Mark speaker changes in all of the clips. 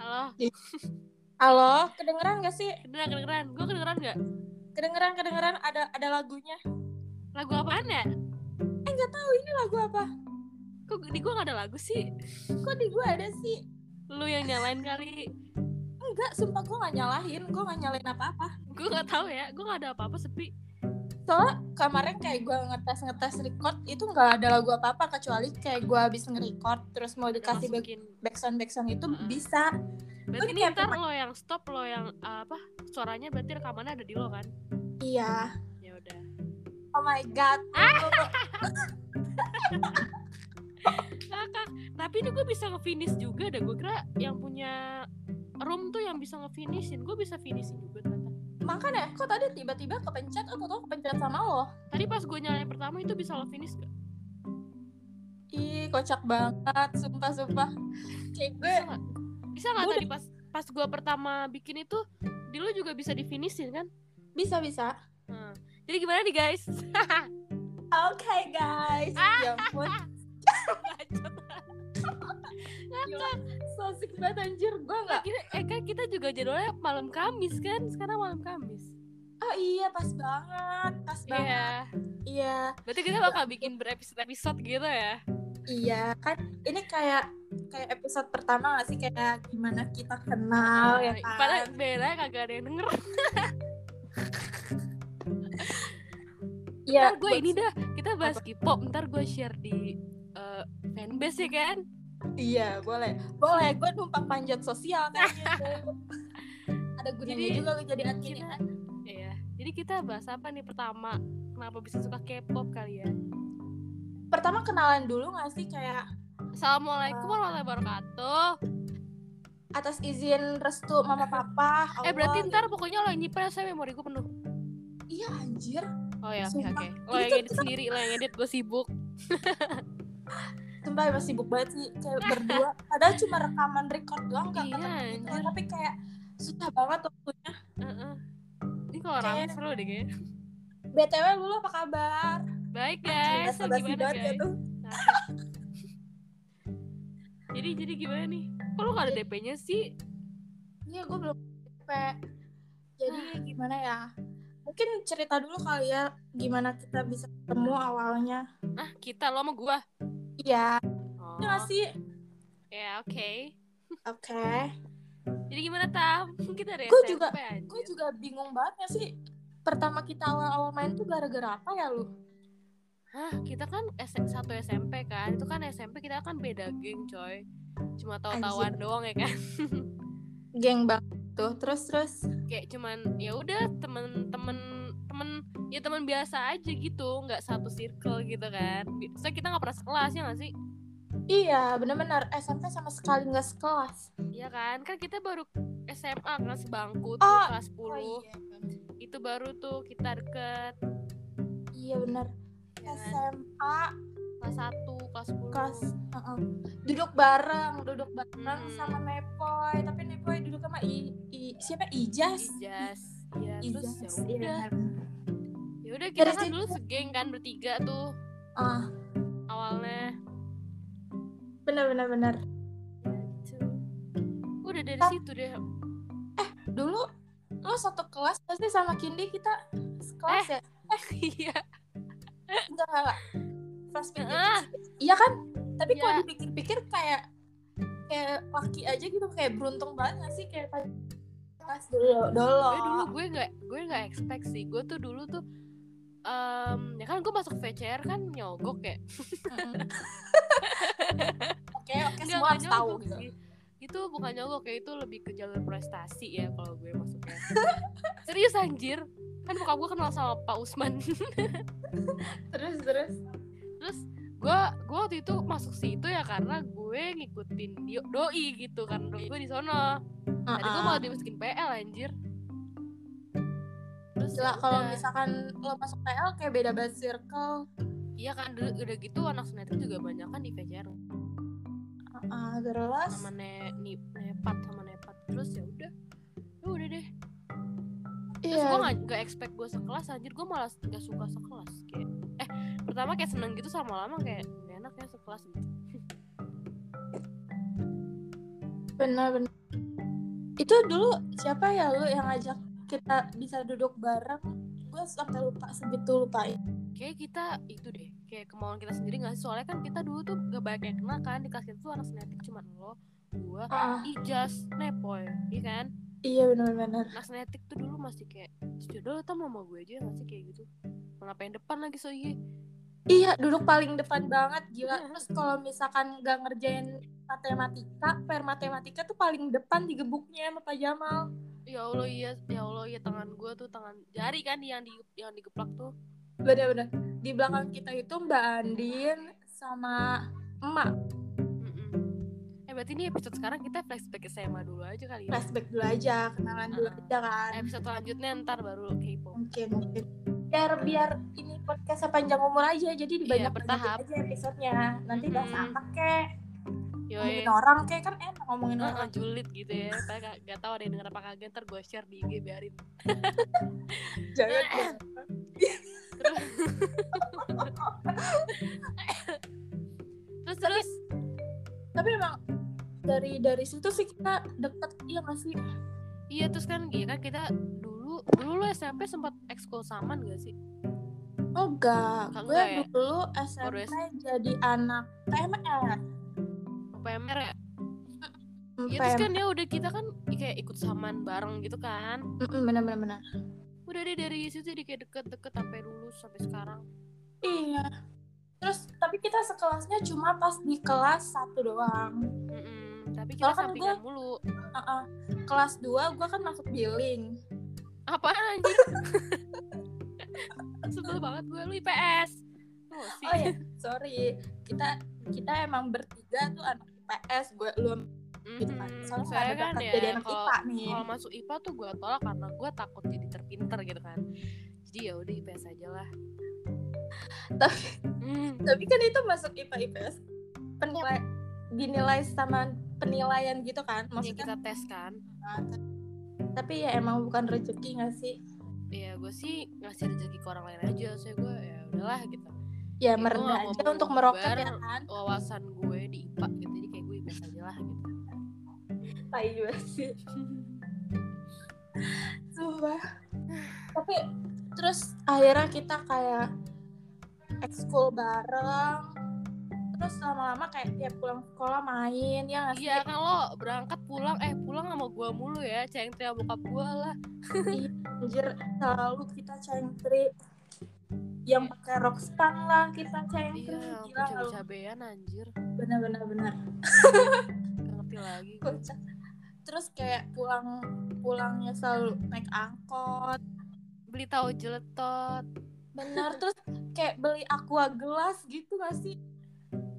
Speaker 1: Halo,
Speaker 2: Halo, kedengeran gak sih?
Speaker 1: kedengeran kedengeran. Gue kedengeran nggak?
Speaker 2: Kedengeran, kedengeran ada ada lagunya.
Speaker 1: Lagu apaan ya?
Speaker 2: Eh nggak tahu ini lagu apa?
Speaker 1: Kok di gue nggak ada lagu sih?
Speaker 2: Kok di gua ada sih?
Speaker 1: Lu yang nyalain kali.
Speaker 2: Enggak, sumpah gua nggak nyalahin, gua nggak nyalain apa-apa.
Speaker 1: Gue nggak tahu ya. Gue nggak ada apa-apa sepi.
Speaker 2: Soalnya kemarin kayak gua ngetes ngetes record itu nggak ada lagu apa-apa kecuali kayak gua habis nge-record terus mau dikasih back
Speaker 1: Masukin.
Speaker 2: backsound backsound itu
Speaker 1: Mm-mm.
Speaker 2: bisa.
Speaker 1: Berarti
Speaker 2: Lu
Speaker 1: ini
Speaker 2: kayak
Speaker 1: ntar lo yang stop, lo yang uh, apa? Suaranya berarti rekamannya ada di lo kan?
Speaker 2: Iya.
Speaker 1: Ya udah.
Speaker 2: Oh my god.
Speaker 1: Kakak. Tapi ini gue bisa ngefinish juga. Dah gue kira yang punya room tuh yang bisa ngefinishin. Gue bisa finishin juga ternyata.
Speaker 2: Makanya kok tadi tiba-tiba kepencet aku tuh kepencet sama lo.
Speaker 1: Tadi pas gue nyalain pertama itu bisa lo finish gak?
Speaker 2: Ih, kocak banget, sumpah sumpah. Kayak gue
Speaker 1: Bisa nggak? Bisa nggak
Speaker 2: Gua
Speaker 1: tadi pas pas gue pertama bikin itu di lo juga bisa di finishin kan?
Speaker 2: bisa bisa.
Speaker 1: Hmm. Jadi gimana nih guys?
Speaker 2: Oke guys, ya ampun, so asik banget anjir, gue gak
Speaker 1: Kira- eh kan kita juga jadwalnya malam Kamis kan? Sekarang malam Kamis.
Speaker 2: Oh iya pas banget, pas
Speaker 1: Iya.
Speaker 2: banget Iya,
Speaker 1: Berarti kita bakal bikin berepisode-episode gitu ya.
Speaker 2: iya kan ini kayak kayak episode pertama gak sih kayak gimana kita kenal
Speaker 1: Oh, iya.
Speaker 2: ya kan
Speaker 1: Nah, Padahal beda kagak ada yang denger.
Speaker 2: Iya,
Speaker 1: Ntar gue ini dah, kita bahas K-pop. Ntar gue share di eh, fanbase ya kan?
Speaker 2: Iya boleh, boleh gue numpang panjat sosial kayaknya tuh. Ada gunanya
Speaker 1: Jadi,
Speaker 2: juga lu jadi admin ya
Speaker 1: Iya. Jadi kita bahas apa nih pertama? Kenapa bisa suka K-pop kali ya?
Speaker 2: Pertama kenalan dulu gak sih kayak
Speaker 1: Assalamualaikum warahmatullahi wabarakatuh.
Speaker 2: atas izin restu mama papa
Speaker 1: Eh berarti
Speaker 2: Allah.
Speaker 1: ntar pokoknya lo yang nyimpen saya memori gue penuh.
Speaker 2: Iya anjir
Speaker 1: Oh ya, oke
Speaker 2: Sumpah.
Speaker 1: oke. Lo yang edit sendiri, lo yang edit gue sibuk.
Speaker 2: Sumpah emang sibuk banget sih kayak berdua. Padahal cuma rekaman record doang gak
Speaker 1: Iya,
Speaker 2: ketemu gitu.
Speaker 1: anjir.
Speaker 2: Tapi kayak susah banget waktunya.
Speaker 1: Heeh. Ini kalau rame
Speaker 2: Kayak-
Speaker 1: seru deh kayaknya.
Speaker 2: BTW lu apa kabar?
Speaker 1: Baik guys,
Speaker 2: Basa
Speaker 1: lo Iya,
Speaker 2: basi
Speaker 1: gimana
Speaker 2: banget ya
Speaker 1: guys?
Speaker 2: tuh.
Speaker 1: jadi jadi gimana nih? Kok lo gak ada DP-nya sih?
Speaker 2: Iya gue belum sampai. Jadi
Speaker 1: Ah.
Speaker 2: gimana ya? Mungkin cerita dulu kali ya gimana kita bisa ketemu awalnya.
Speaker 1: Ah, kita lo sama gua.
Speaker 2: Iya.
Speaker 1: Oh.
Speaker 2: Iya gak sih?
Speaker 1: Ya, oke.
Speaker 2: Oke.
Speaker 1: Jadi gimana Tam? Kita dari
Speaker 2: Gua
Speaker 1: SMP
Speaker 2: juga-
Speaker 1: anjir.
Speaker 2: Gue juga bingung banget gak sih? Pertama kita awal-awal main tuh gara-gara apa ya lu?
Speaker 1: Hah, kita kan S satu SMP kan. Itu kan SMP kita kan beda geng, coy. Cuma tahu-tahuan doang ya kan.
Speaker 2: Geng banget tuh. Terus terus.
Speaker 1: Kayak cuman ya udah temen-temen temen ya temen biasa aja gitu, nggak satu circle gitu kan. Bi- So kita nggak pernah sekelas ya nggak sih?
Speaker 2: Iya, benar-benar SMP sama sekali nggak sekelas.
Speaker 1: Iya kan? Kan kita baru SMA kan sebangku tuh
Speaker 2: Oh,
Speaker 1: kelas 10.
Speaker 2: Oh iya,
Speaker 1: Itu baru tuh kita deket
Speaker 2: iya benar.
Speaker 1: ya kan?
Speaker 2: SMA
Speaker 1: kelas 1, kelas 10.
Speaker 2: kelas uh-uh. duduk bareng, duduk bareng
Speaker 1: Hmm.
Speaker 2: sama Nepoy, tapi Nepoy duduk sama I, I- siapa Ijas.
Speaker 1: Ijas. Iya, terus
Speaker 2: Ijas.
Speaker 1: ya
Speaker 2: iya,
Speaker 1: udah.
Speaker 2: benar.
Speaker 1: Ya udah kita
Speaker 2: Dari
Speaker 1: kan
Speaker 2: situ-
Speaker 1: dulu segeng kan bertiga tuh
Speaker 2: Ah,
Speaker 1: awalnya.
Speaker 2: benar benar benar.
Speaker 1: Ya, gitu. Udah dari
Speaker 2: Ah.
Speaker 1: situ deh.
Speaker 2: Dulu lo satu kelas pasti sama Kindi kita sekelas ya?
Speaker 1: Iya.
Speaker 2: Enggak enggak. enggak. Kelas pinggir.
Speaker 1: Ah.
Speaker 2: Iya kan? Tapi kalau
Speaker 1: Iya.
Speaker 2: dipikir-pikir kayak kayak laki aja gitu kayak beruntung banget gak sih kayak pas- kelas dulu dulu.
Speaker 1: Gue Iya. dulu gue nggak gue nggak expect sih. Gue tuh dulu tuh em, ya kan gue masuk VCR kan nyogok ya.
Speaker 2: Oke, oke
Speaker 1: Nggak,
Speaker 2: semua
Speaker 1: nggak
Speaker 2: harus tahu
Speaker 1: nyogok
Speaker 2: gitu.
Speaker 1: sih. Itu bukan nyogok ya, itu lebih ke jalur prestasi ya kalau gue masuknya. Serius anjir. Kan bokap gue kenal sama Pak Usman.
Speaker 2: Terus terus.
Speaker 1: Terus gue gue waktu itu masuk situ ya karena gue ngikutin dio- doi gitu kan doi gue di sono. Tadi gue malah dimasukin PL anjir. Terus
Speaker 2: Gila,
Speaker 1: ya
Speaker 2: kalau
Speaker 1: udah.
Speaker 2: misalkan lo masuk PL kayak beda banget circle.
Speaker 1: iya kan udah, udah gitu anak sinetron juga banyak kan di VCR
Speaker 2: Ah, terus.
Speaker 1: sama ne, Ni- nepat sama nepat terus ya udah ya udah deh terus gue
Speaker 2: Iya.
Speaker 1: gak, expect gue sekelas anjir gue malah gak suka sekelas kayak eh pertama kayak seneng gitu sama lama kayak gak enak ya sekelas gitu
Speaker 2: Benar benar. itu dulu siapa ya lu yang ngajak kita bisa duduk bareng gue sampai lupa segitu lupa
Speaker 1: kayak kita itu deh kayak kemauan kita sendiri nggak sih soalnya kan kita dulu tuh gak banyak yang kenal kan di kelas kita tuh anak sinetik cuma lo gua
Speaker 2: Ah.
Speaker 1: ijas nepoy iya kan
Speaker 2: iya benar-benar
Speaker 1: anak sinetik tuh dulu masih kayak jodoh tau mama gue aja masih kayak gitu malah pengen depan lagi so iya
Speaker 2: iya duduk paling depan banget gila
Speaker 1: Iya.
Speaker 2: terus kalau misalkan gak ngerjain matematika per matematika tuh paling depan digebuknya sama Pak Jamal
Speaker 1: ya allah iya ya allah iya tangan gua tuh tangan jari kan yang di yang digeplak tuh
Speaker 2: benar-benar di belakang kita itu Mbak Andin sama emak
Speaker 1: Mm-mm. eh berarti ini episode sekarang kita flashback SMA dulu aja kali ya
Speaker 2: flashback dulu aja kenalan dulu
Speaker 1: Ah.
Speaker 2: aja kan
Speaker 1: episode selanjutnya ntar baru K-pop
Speaker 2: mungkin mungkin biar biar ini podcast sepanjang umur aja jadi dibanyak
Speaker 1: Iya, bertahap. Hmm.
Speaker 2: aja episodenya nanti
Speaker 1: Mm-mm.
Speaker 2: bahas apa kek
Speaker 1: yoi
Speaker 2: ngomongin orang kek kan enak ngomongin
Speaker 1: Heeh,
Speaker 2: orang
Speaker 1: julid gitu ya Tapi gak, gak tau ada yang denger apa kagak Ntar gue share di IG biarin
Speaker 2: jangan
Speaker 1: Eh. Terus Terus terus
Speaker 2: tapi emang dari dari situ sih kita deket iya nggak sih
Speaker 1: Iya terus kan gini kan kita dulu Dulu lu SMP sempat ekskul saman gak sih?
Speaker 2: enggak
Speaker 1: Enggak
Speaker 2: Oh, gue
Speaker 1: ya?
Speaker 2: dulu SMP jadi anak PMR
Speaker 1: PMR ya? Iya terus kan ya udah kita kan kayak ikut saman bareng gitu kan
Speaker 2: bener bener bener
Speaker 1: Udah deh dari situ jadi kayak deket-deket sampai lulus sampai sekarang
Speaker 2: iya terus tapi kita sekelasnya cuma pas di kelas satu doang
Speaker 1: Mm-mm. Tapi kita
Speaker 2: Soalnya kan
Speaker 1: sampingan mulu
Speaker 2: Heeh. kelas 2 gue kan masuk billing
Speaker 1: Apaan anjir? Sebel banget gue lu IPS Tuh sih
Speaker 2: oh ya sorry kita kita emang bertiga tuh anak IPS gue lu gitu kan
Speaker 1: Mhm.
Speaker 2: soalnya
Speaker 1: Saya
Speaker 2: ada
Speaker 1: kan
Speaker 2: bakat
Speaker 1: ya
Speaker 2: jadi anak
Speaker 1: kalau
Speaker 2: IPA nih
Speaker 1: kalau masuk IPA tuh gue tolak karena gue takut jadi terpinter gitu kan. Jadi ya udah IPS aja lah.
Speaker 2: Tapi-
Speaker 1: Hmm,
Speaker 2: tapi kan itu masuk IPA IPS penilai dinilai sama penilaian gitu kan
Speaker 1: ya
Speaker 2: maksudnya
Speaker 1: kita tes kan.
Speaker 2: tapi ya emang bukan rezeki gak sih
Speaker 1: Ya gue sih ngasih rezeki ke orang lain aja, saya gue ya udahlah gitu. Ya,
Speaker 2: ya
Speaker 1: gua
Speaker 2: merendah
Speaker 1: nggak mau
Speaker 2: aja untuk meroket ya
Speaker 1: berubah.
Speaker 2: kan
Speaker 1: Wawasan gue di IPA gitu, jadi kayak gue IPS aja lah gitu.
Speaker 2: tai juga sih Sumpah. tapi terus akhirnya kita kayak ekskul bareng terus lama-lama kayak tiap pulang sekolah main ya nggak sih
Speaker 1: Iya kan lo berangkat pulang, eh pulang sama gue mulu ya, cengtria bokap gue lah.
Speaker 2: Anjir, selalu kita cengtri yang pakai rok span lah kita cengtri
Speaker 1: Iya,
Speaker 2: gila
Speaker 1: cabe
Speaker 2: lu.
Speaker 1: cabean anjir,
Speaker 2: bener bener bener
Speaker 1: gak ngerti lagi. gue.
Speaker 2: Kocak. terus kayak pulang pulangnya selalu naik angkot
Speaker 1: Beli tahu jeletot.
Speaker 2: bener terus kayak beli aqua gelas gitu gak sih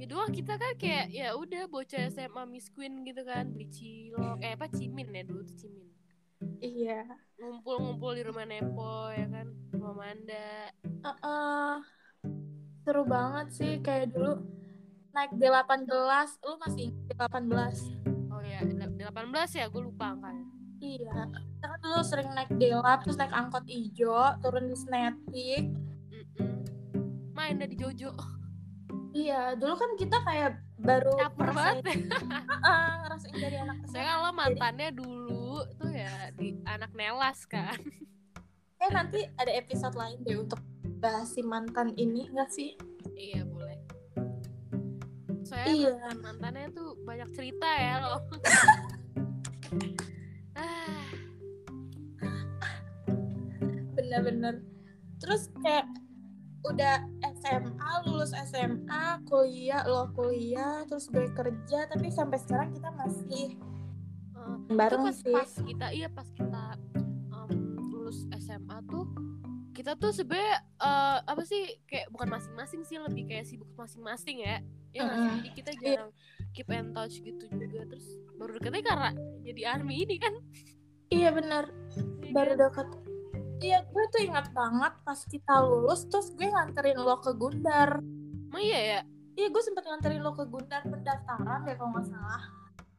Speaker 1: Kedua kita kan kayak ya udah bocah SMA Miss Queen gitu kan beli cilok eh apa cimin ya dulu tuh cimin
Speaker 2: iya
Speaker 1: ngumpul-ngumpul di rumah Nepo ya kan rumah Manda
Speaker 2: Heeh. seru banget sih kayak dulu naik D18 lu masih ingat D18
Speaker 1: oh ya del- 18 ya gue lupa angkanya
Speaker 2: iya kita kan dulu sering naik D8 terus naik angkot ijo turun di Senetik
Speaker 1: Mm-mm. main dari Jojo
Speaker 2: iya dulu kan kita kayak baru
Speaker 1: caper banget
Speaker 2: ngerasain, Heeh, ngerasain jadi anak
Speaker 1: saya kan lo mantannya dulu tuh ya di anak Nelas kan
Speaker 2: eh nanti ada episode lain deh untuk bahas si mantan ini nggak sih
Speaker 1: iya boleh saya
Speaker 2: Iya.
Speaker 1: mantan mantannya tuh banyak cerita ya lo ah
Speaker 2: bener-bener terus kayak udah SMA lulus SMA kuliah lo kuliah terus gue kerja tapi sampai sekarang kita masih
Speaker 1: eh, itu
Speaker 2: bareng
Speaker 1: pas,
Speaker 2: sih
Speaker 1: pas kita iya pas kita em, lulus SMA tuh kita tuh sebenernya eh, apa sih kayak bukan masing-masing sih lebih kayak sibuk masing-masing ya ya nggak sih?
Speaker 2: Mm-mm. Iya.
Speaker 1: jadi kita jarang keep in touch gitu juga terus baru deketnya karena jadi army ini kan
Speaker 2: iya bener baru
Speaker 1: Iya.
Speaker 2: deket iya gue tuh ingat banget pas kita lulus terus gue nganterin lo ke Gundar
Speaker 1: Emang iya ya
Speaker 2: iya gue sempet nganterin lo ke Gundar pendaftaran deh kalau nggak salah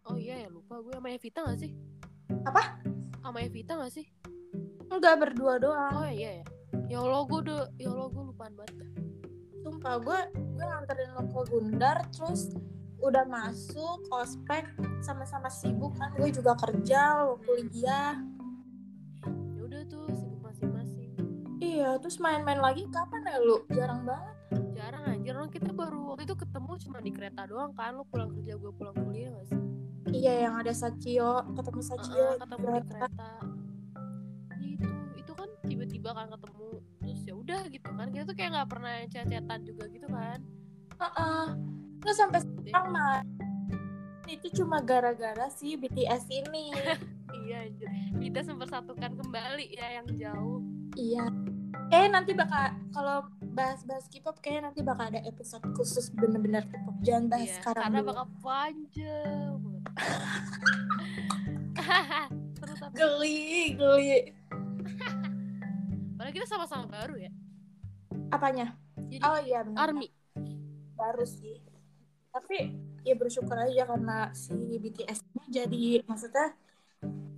Speaker 1: oh iya ya lupa gue sama Evita gak sih
Speaker 2: Apa?
Speaker 1: sama Evita gak sih
Speaker 2: enggak berdua
Speaker 1: oh
Speaker 2: doang
Speaker 1: iya ya ya Allah gue udah ya Allah gue lupaan banget
Speaker 2: sumpah gue gue nganterin lo ke Gundar terus udah masuk ospek sama-sama sibuk kan gue juga kerja lo kuliah
Speaker 1: ya udah tuh sibuk masing-masing
Speaker 2: iya terus main-main lagi kapan ya lu jarang banget
Speaker 1: jarang anjir orang kita baru waktu itu ketemu cuma di kereta doang kan lo pulang kerja gue pulang kuliah gak sih
Speaker 2: iya yang ada Sachio ketemu Sachio
Speaker 1: Heeh, ketemu Iya, di kereta itu itu kan tiba-tiba kan ketemu terus ya udah gitu kan kita tuh kayak nggak pernah cecetan juga gitu kan
Speaker 2: Heeh. terus sampai sekarang mah itu cuma gara-gara si BTS ini
Speaker 1: iya anjir kita mempersatukan kembali ya yang jauh
Speaker 2: iya eh nanti bakal kalau bahas-bahas K-pop kayaknya nanti bakal ada episode khusus bener-bener K-pop jangan bahas
Speaker 1: Iya,
Speaker 2: sekarang
Speaker 1: karena
Speaker 2: dulu.
Speaker 1: bakal panjang banget. Seru tapi
Speaker 2: geli geli
Speaker 1: padahal kita sama-sama baru ya
Speaker 2: apanya
Speaker 1: Jadi,
Speaker 2: oh iya benar.
Speaker 1: army
Speaker 2: baru sih tapi ya bersyukur aja karena si BTS ini jadi maksudnya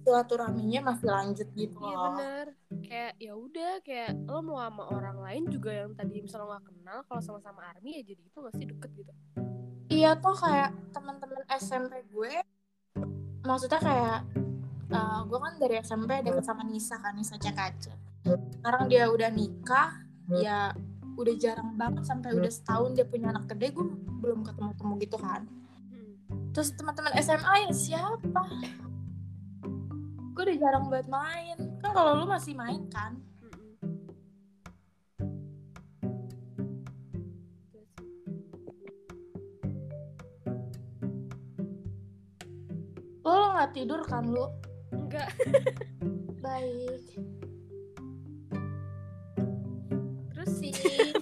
Speaker 2: silaturahminya masih lanjut gitu
Speaker 1: iya
Speaker 2: loh
Speaker 1: bener kayak ya udah kayak lo mau sama orang lain juga yang tadi misalnya lo nggak kenal kalau sama-sama army ya jadi itu nggak sih deket gitu
Speaker 2: iya tuh kayak teman-teman SMP gue maksudnya kayak eh, gue kan dari SMP deket sama Nisa kan Nisa Cakaca sekarang dia udah nikah ya udah jarang banget sampai udah setahun dia punya anak gede gue belum ketemu-temu gitu kan
Speaker 1: Hmm.
Speaker 2: terus teman-teman SMA ya siapa gue udah jarang buat main kan kalau lu masih main kan
Speaker 1: Mm-mm. Terus,
Speaker 2: lu lu nggak tidur kan lu
Speaker 1: enggak
Speaker 2: baik
Speaker 1: terus sih
Speaker 2: sih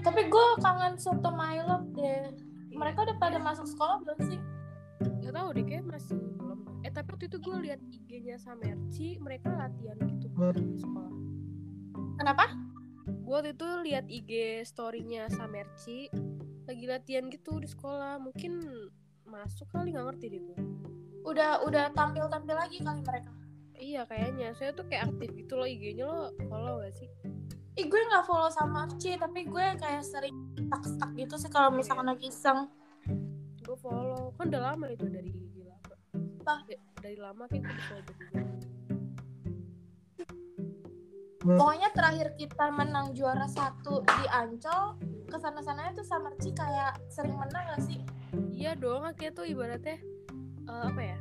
Speaker 2: tapi gue kangen soto Milo deh mereka udah pada masuk sekolah belum sih
Speaker 1: nggak tahu deh kayak masih belum eh tapi waktu itu gue liat IG-nya Samerci mereka latihan gitu di sekolah
Speaker 2: kenapa
Speaker 1: gue waktu itu lihat IG story-nya Samerci lagi latihan gitu di sekolah mungkin masuk kali nggak ngerti deh gue
Speaker 2: udah udah tampil tampil lagi kali mereka
Speaker 1: iya kayaknya saya tuh kayak aktif gitu loh IG-nya lo follow gak sih
Speaker 2: Ih gue nggak follow sama Ci tapi gue kayak sering stuck stuck gitu sih kalau misalkan lagi iseng
Speaker 1: gue follow kan udah lama itu dari IG lama
Speaker 2: Apa?
Speaker 1: Da- dari lama kayak gue follow juga
Speaker 2: pokoknya terakhir kita menang juara satu di Ancol kesana sananya tuh Samerci kayak sering menang gak sih
Speaker 1: iya dong akhirnya tuh ibaratnya eh, apa ya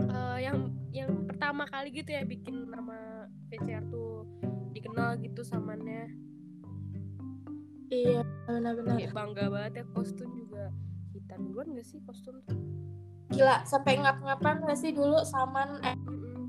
Speaker 1: Eh, yang yang pertama kali gitu ya bikin nama PCR tuh dikenal gitu samannya
Speaker 2: iya benar-benar
Speaker 1: kayak bangga banget ya kostum juga hitam duluan gak sih kostum tuh
Speaker 2: gila sampai ngap-ngapan gak sih dulu saman eh,
Speaker 1: Mm-mm.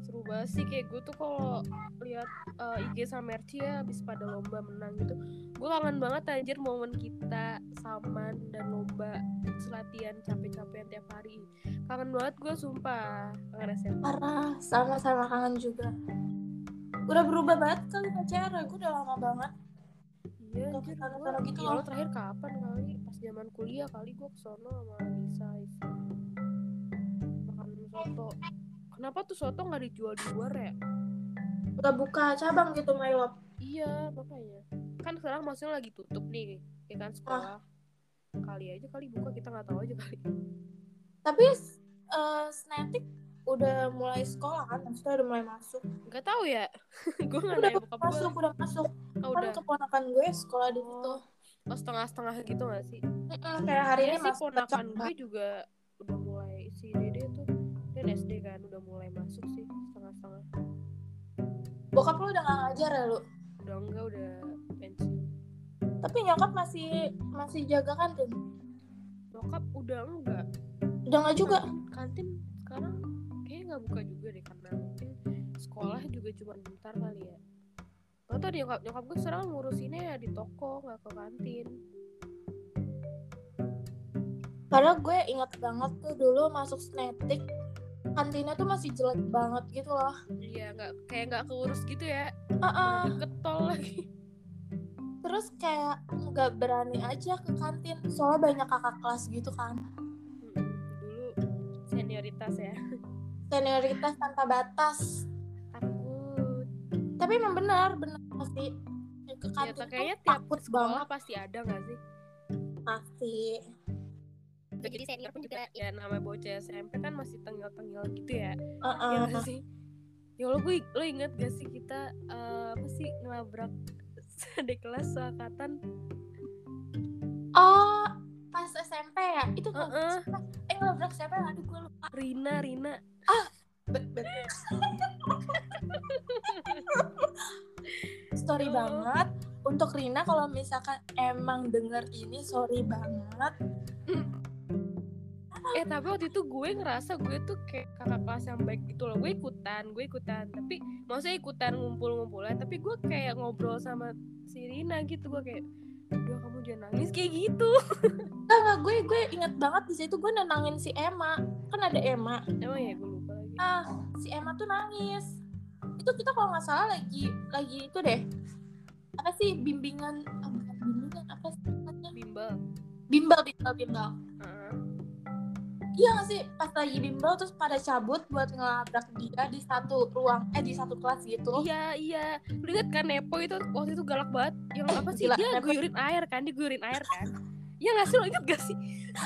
Speaker 1: seru banget sih kayak gue tuh kalau lihat eh, IG sama Merci ya habis pada lomba menang gitu gue kangen banget anjir momen kita saman dan lomba terus latihan capek-capekan tiap hari kangen banget gue sumpah kangen SMA
Speaker 2: parah sama-sama kangen juga udah berubah banget kali pacara gue udah lama banget
Speaker 1: iya
Speaker 2: Tapi
Speaker 1: anjir
Speaker 2: kangen
Speaker 1: gue
Speaker 2: banget gitu
Speaker 1: ya
Speaker 2: loh.
Speaker 1: lo terakhir kapan kali pas zaman kuliah kali gue kesono sama Lisa Isa makan soto kenapa tuh soto nggak dijual di luar ya
Speaker 2: udah buka cabang gitu my love
Speaker 1: Iya, makanya. Kan sekarang maksudnya lagi tutup nih, ya
Speaker 2: Ah.
Speaker 1: kan sekolah. Kali aja kali buka kita nggak tahu aja kali.
Speaker 2: tapi eh Snatik udah mulai sekolah kan maksudnya udah mulai masuk
Speaker 1: Nggak tahu ya. gue nggak
Speaker 2: udah
Speaker 1: nanya buka buka.
Speaker 2: masuk udah masuk
Speaker 1: Oh,
Speaker 2: kan
Speaker 1: udah.
Speaker 2: keponakan gue sekolah di situ
Speaker 1: Oh, setengah-setengah gitu nggak sih?
Speaker 2: Mm-mm, kayak hari
Speaker 1: Iya
Speaker 2: ini
Speaker 1: sih
Speaker 2: masuk
Speaker 1: ponakan
Speaker 2: cabang.
Speaker 1: gue juga udah mulai si Dede tuh dia SD kan udah mulai masuk sih setengah-setengah.
Speaker 2: Bokap lu udah gak ngajar ya lu?
Speaker 1: Udah enggak udah pensiun.
Speaker 2: Tapi nyokap masih masih jaga kan, kantin?
Speaker 1: Bokap udah enggak.
Speaker 2: Udah gak juga?
Speaker 1: Kantin sekarang kayaknya nggak buka juga deh karena mungkin sekolah juga cuma bentar kali ya. Gak tau deh, nyokap, nyokap gue sekarang ngurusinnya ya di toko, nggak ke kantin.
Speaker 2: Padahal gue ingat banget tuh dulu masuk Snatik Kantinnya tuh masih jelek banget gitu loh
Speaker 1: Iya, nggak kayak nggak keurus gitu ya.
Speaker 2: Heeh.
Speaker 1: Deket tol lagi.
Speaker 2: Terus kayak nggak berani aja ke kantin Soalnya banyak kakak kelas gitu kan
Speaker 1: Mm-mm, Hmm, Dulu senioritas ya.
Speaker 2: Senioritas tanpa batas
Speaker 1: Takut. Iya,
Speaker 2: Tapi emang benar, benar pasti ke
Speaker 1: Ya,
Speaker 2: kantin
Speaker 1: kayaknya
Speaker 2: tuh
Speaker 1: tiap
Speaker 2: takut
Speaker 1: sekolah
Speaker 2: banget
Speaker 1: pasti ada gak sih?
Speaker 2: pasti.
Speaker 3: Jadi senior pun juga
Speaker 1: ya namanya bocah SMP kan masih tengil-tengil gitu ya.
Speaker 2: Uh-uh.
Speaker 1: Ya gak sih? Ya Allah, gue lo inget gak sih kita eh, apa sih ngelabrak di kelas seangkatan?
Speaker 2: Oh, pas SMP ya? Itu kok
Speaker 1: Heeh.
Speaker 2: siapa? Eh, ngelabrak siapa? ya? Aduh, gue lupa.
Speaker 1: Rina, Rina.
Speaker 2: Bet, bet. Story
Speaker 1: Oh.
Speaker 2: banget. Untuk Rina kalau misalkan emang denger ini, sorry banget.
Speaker 1: Eh tapi waktu itu gue ngerasa gue tuh kayak kakak kelas yang baik gitu loh Gue ikutan, gue ikutan Tapi maksudnya ikutan ngumpul-ngumpulan Tapi gue kayak ngobrol sama si Rina gitu Gue kayak, udah kamu jangan nangis kayak gitu
Speaker 2: Nggak, nggak, gue gue inget banget di situ gue nenangin si Emma. Kan ada Emma.
Speaker 1: Emang ya gue lupa lagi
Speaker 2: Ah, si Emma tuh nangis. Itu kita kalau nggak salah lagi lagi itu deh. Apa sih bimbingan? Oh, bukan bimbingan apa sih? namanya?
Speaker 1: Bimbel
Speaker 2: Bimbel, bimbel, bimbel.
Speaker 1: Heeh.
Speaker 2: Iya gak sih? Pas lagi bimbel terus pada cabut buat ngelabrak dia di satu ruang, eh di satu kelas gitu.
Speaker 1: Iya, iya Lu inget kan Nepo itu waktu itu galak banget Yang apa sih,
Speaker 2: Gila,
Speaker 1: dia
Speaker 2: Nepo.
Speaker 1: guyurin air kan, dia guyurin air kan Iya gak sih, lo inget gak sih?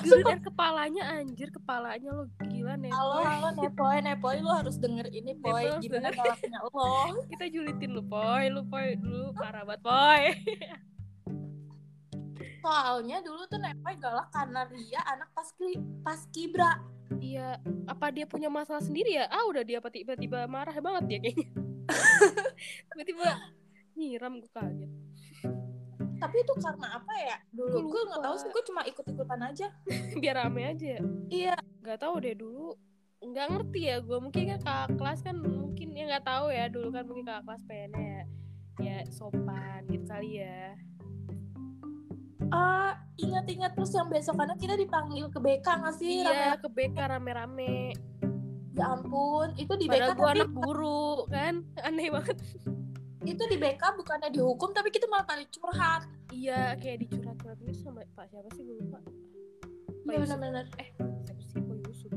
Speaker 1: Guyurin air kepalanya, anjir kepalanya lo gila Nepo
Speaker 2: Halo, halo Nepoy, Nepoy lu harus denger ini Boy,
Speaker 1: Nepoy harus
Speaker 2: gimana
Speaker 1: denger.
Speaker 2: galaknya lo
Speaker 1: Kita julitin lu, Poy Lu, Poy, dulu parah banget, Poy
Speaker 2: Soalnya dulu tuh Nepoy galak karena dia anak pas, pas kibra
Speaker 1: Iya, apa dia punya masalah sendiri ya? Ah, udah dia apa tiba-tiba marah banget dia kayaknya. tiba-tiba nyiram gue kaget.
Speaker 2: Tapi itu karena apa ya? Dulu gue gak tau sih, gue cuma ikut-ikutan aja
Speaker 1: Biar rame aja.
Speaker 2: Iya,
Speaker 1: Gak tahu deh dulu nggak ngerti ya gue mungkin kan kakak kelas kan mungkin ya nggak tahu ya dulu kan mungkin kakak kelas pengennya ya, ya sopan gitu kali ya
Speaker 2: eh, ingat-ingat terus yang besokannya kita dipanggil ke BK gak sih?
Speaker 1: iya ke
Speaker 2: Rame-
Speaker 1: BK rame-rame
Speaker 2: Ya ampun, itu di BK
Speaker 1: padahal gue
Speaker 2: tapi
Speaker 1: anak guru kan aneh banget
Speaker 2: itu di BK bukannya dihukum tapi kita malah pada curhat
Speaker 1: iya kayak dicurhat-curhat gitu sama pak siapa sih gue lupa Pak
Speaker 2: Iya
Speaker 1: Yusuf.
Speaker 2: benar-benar.
Speaker 1: siapa sih Pak Yusuf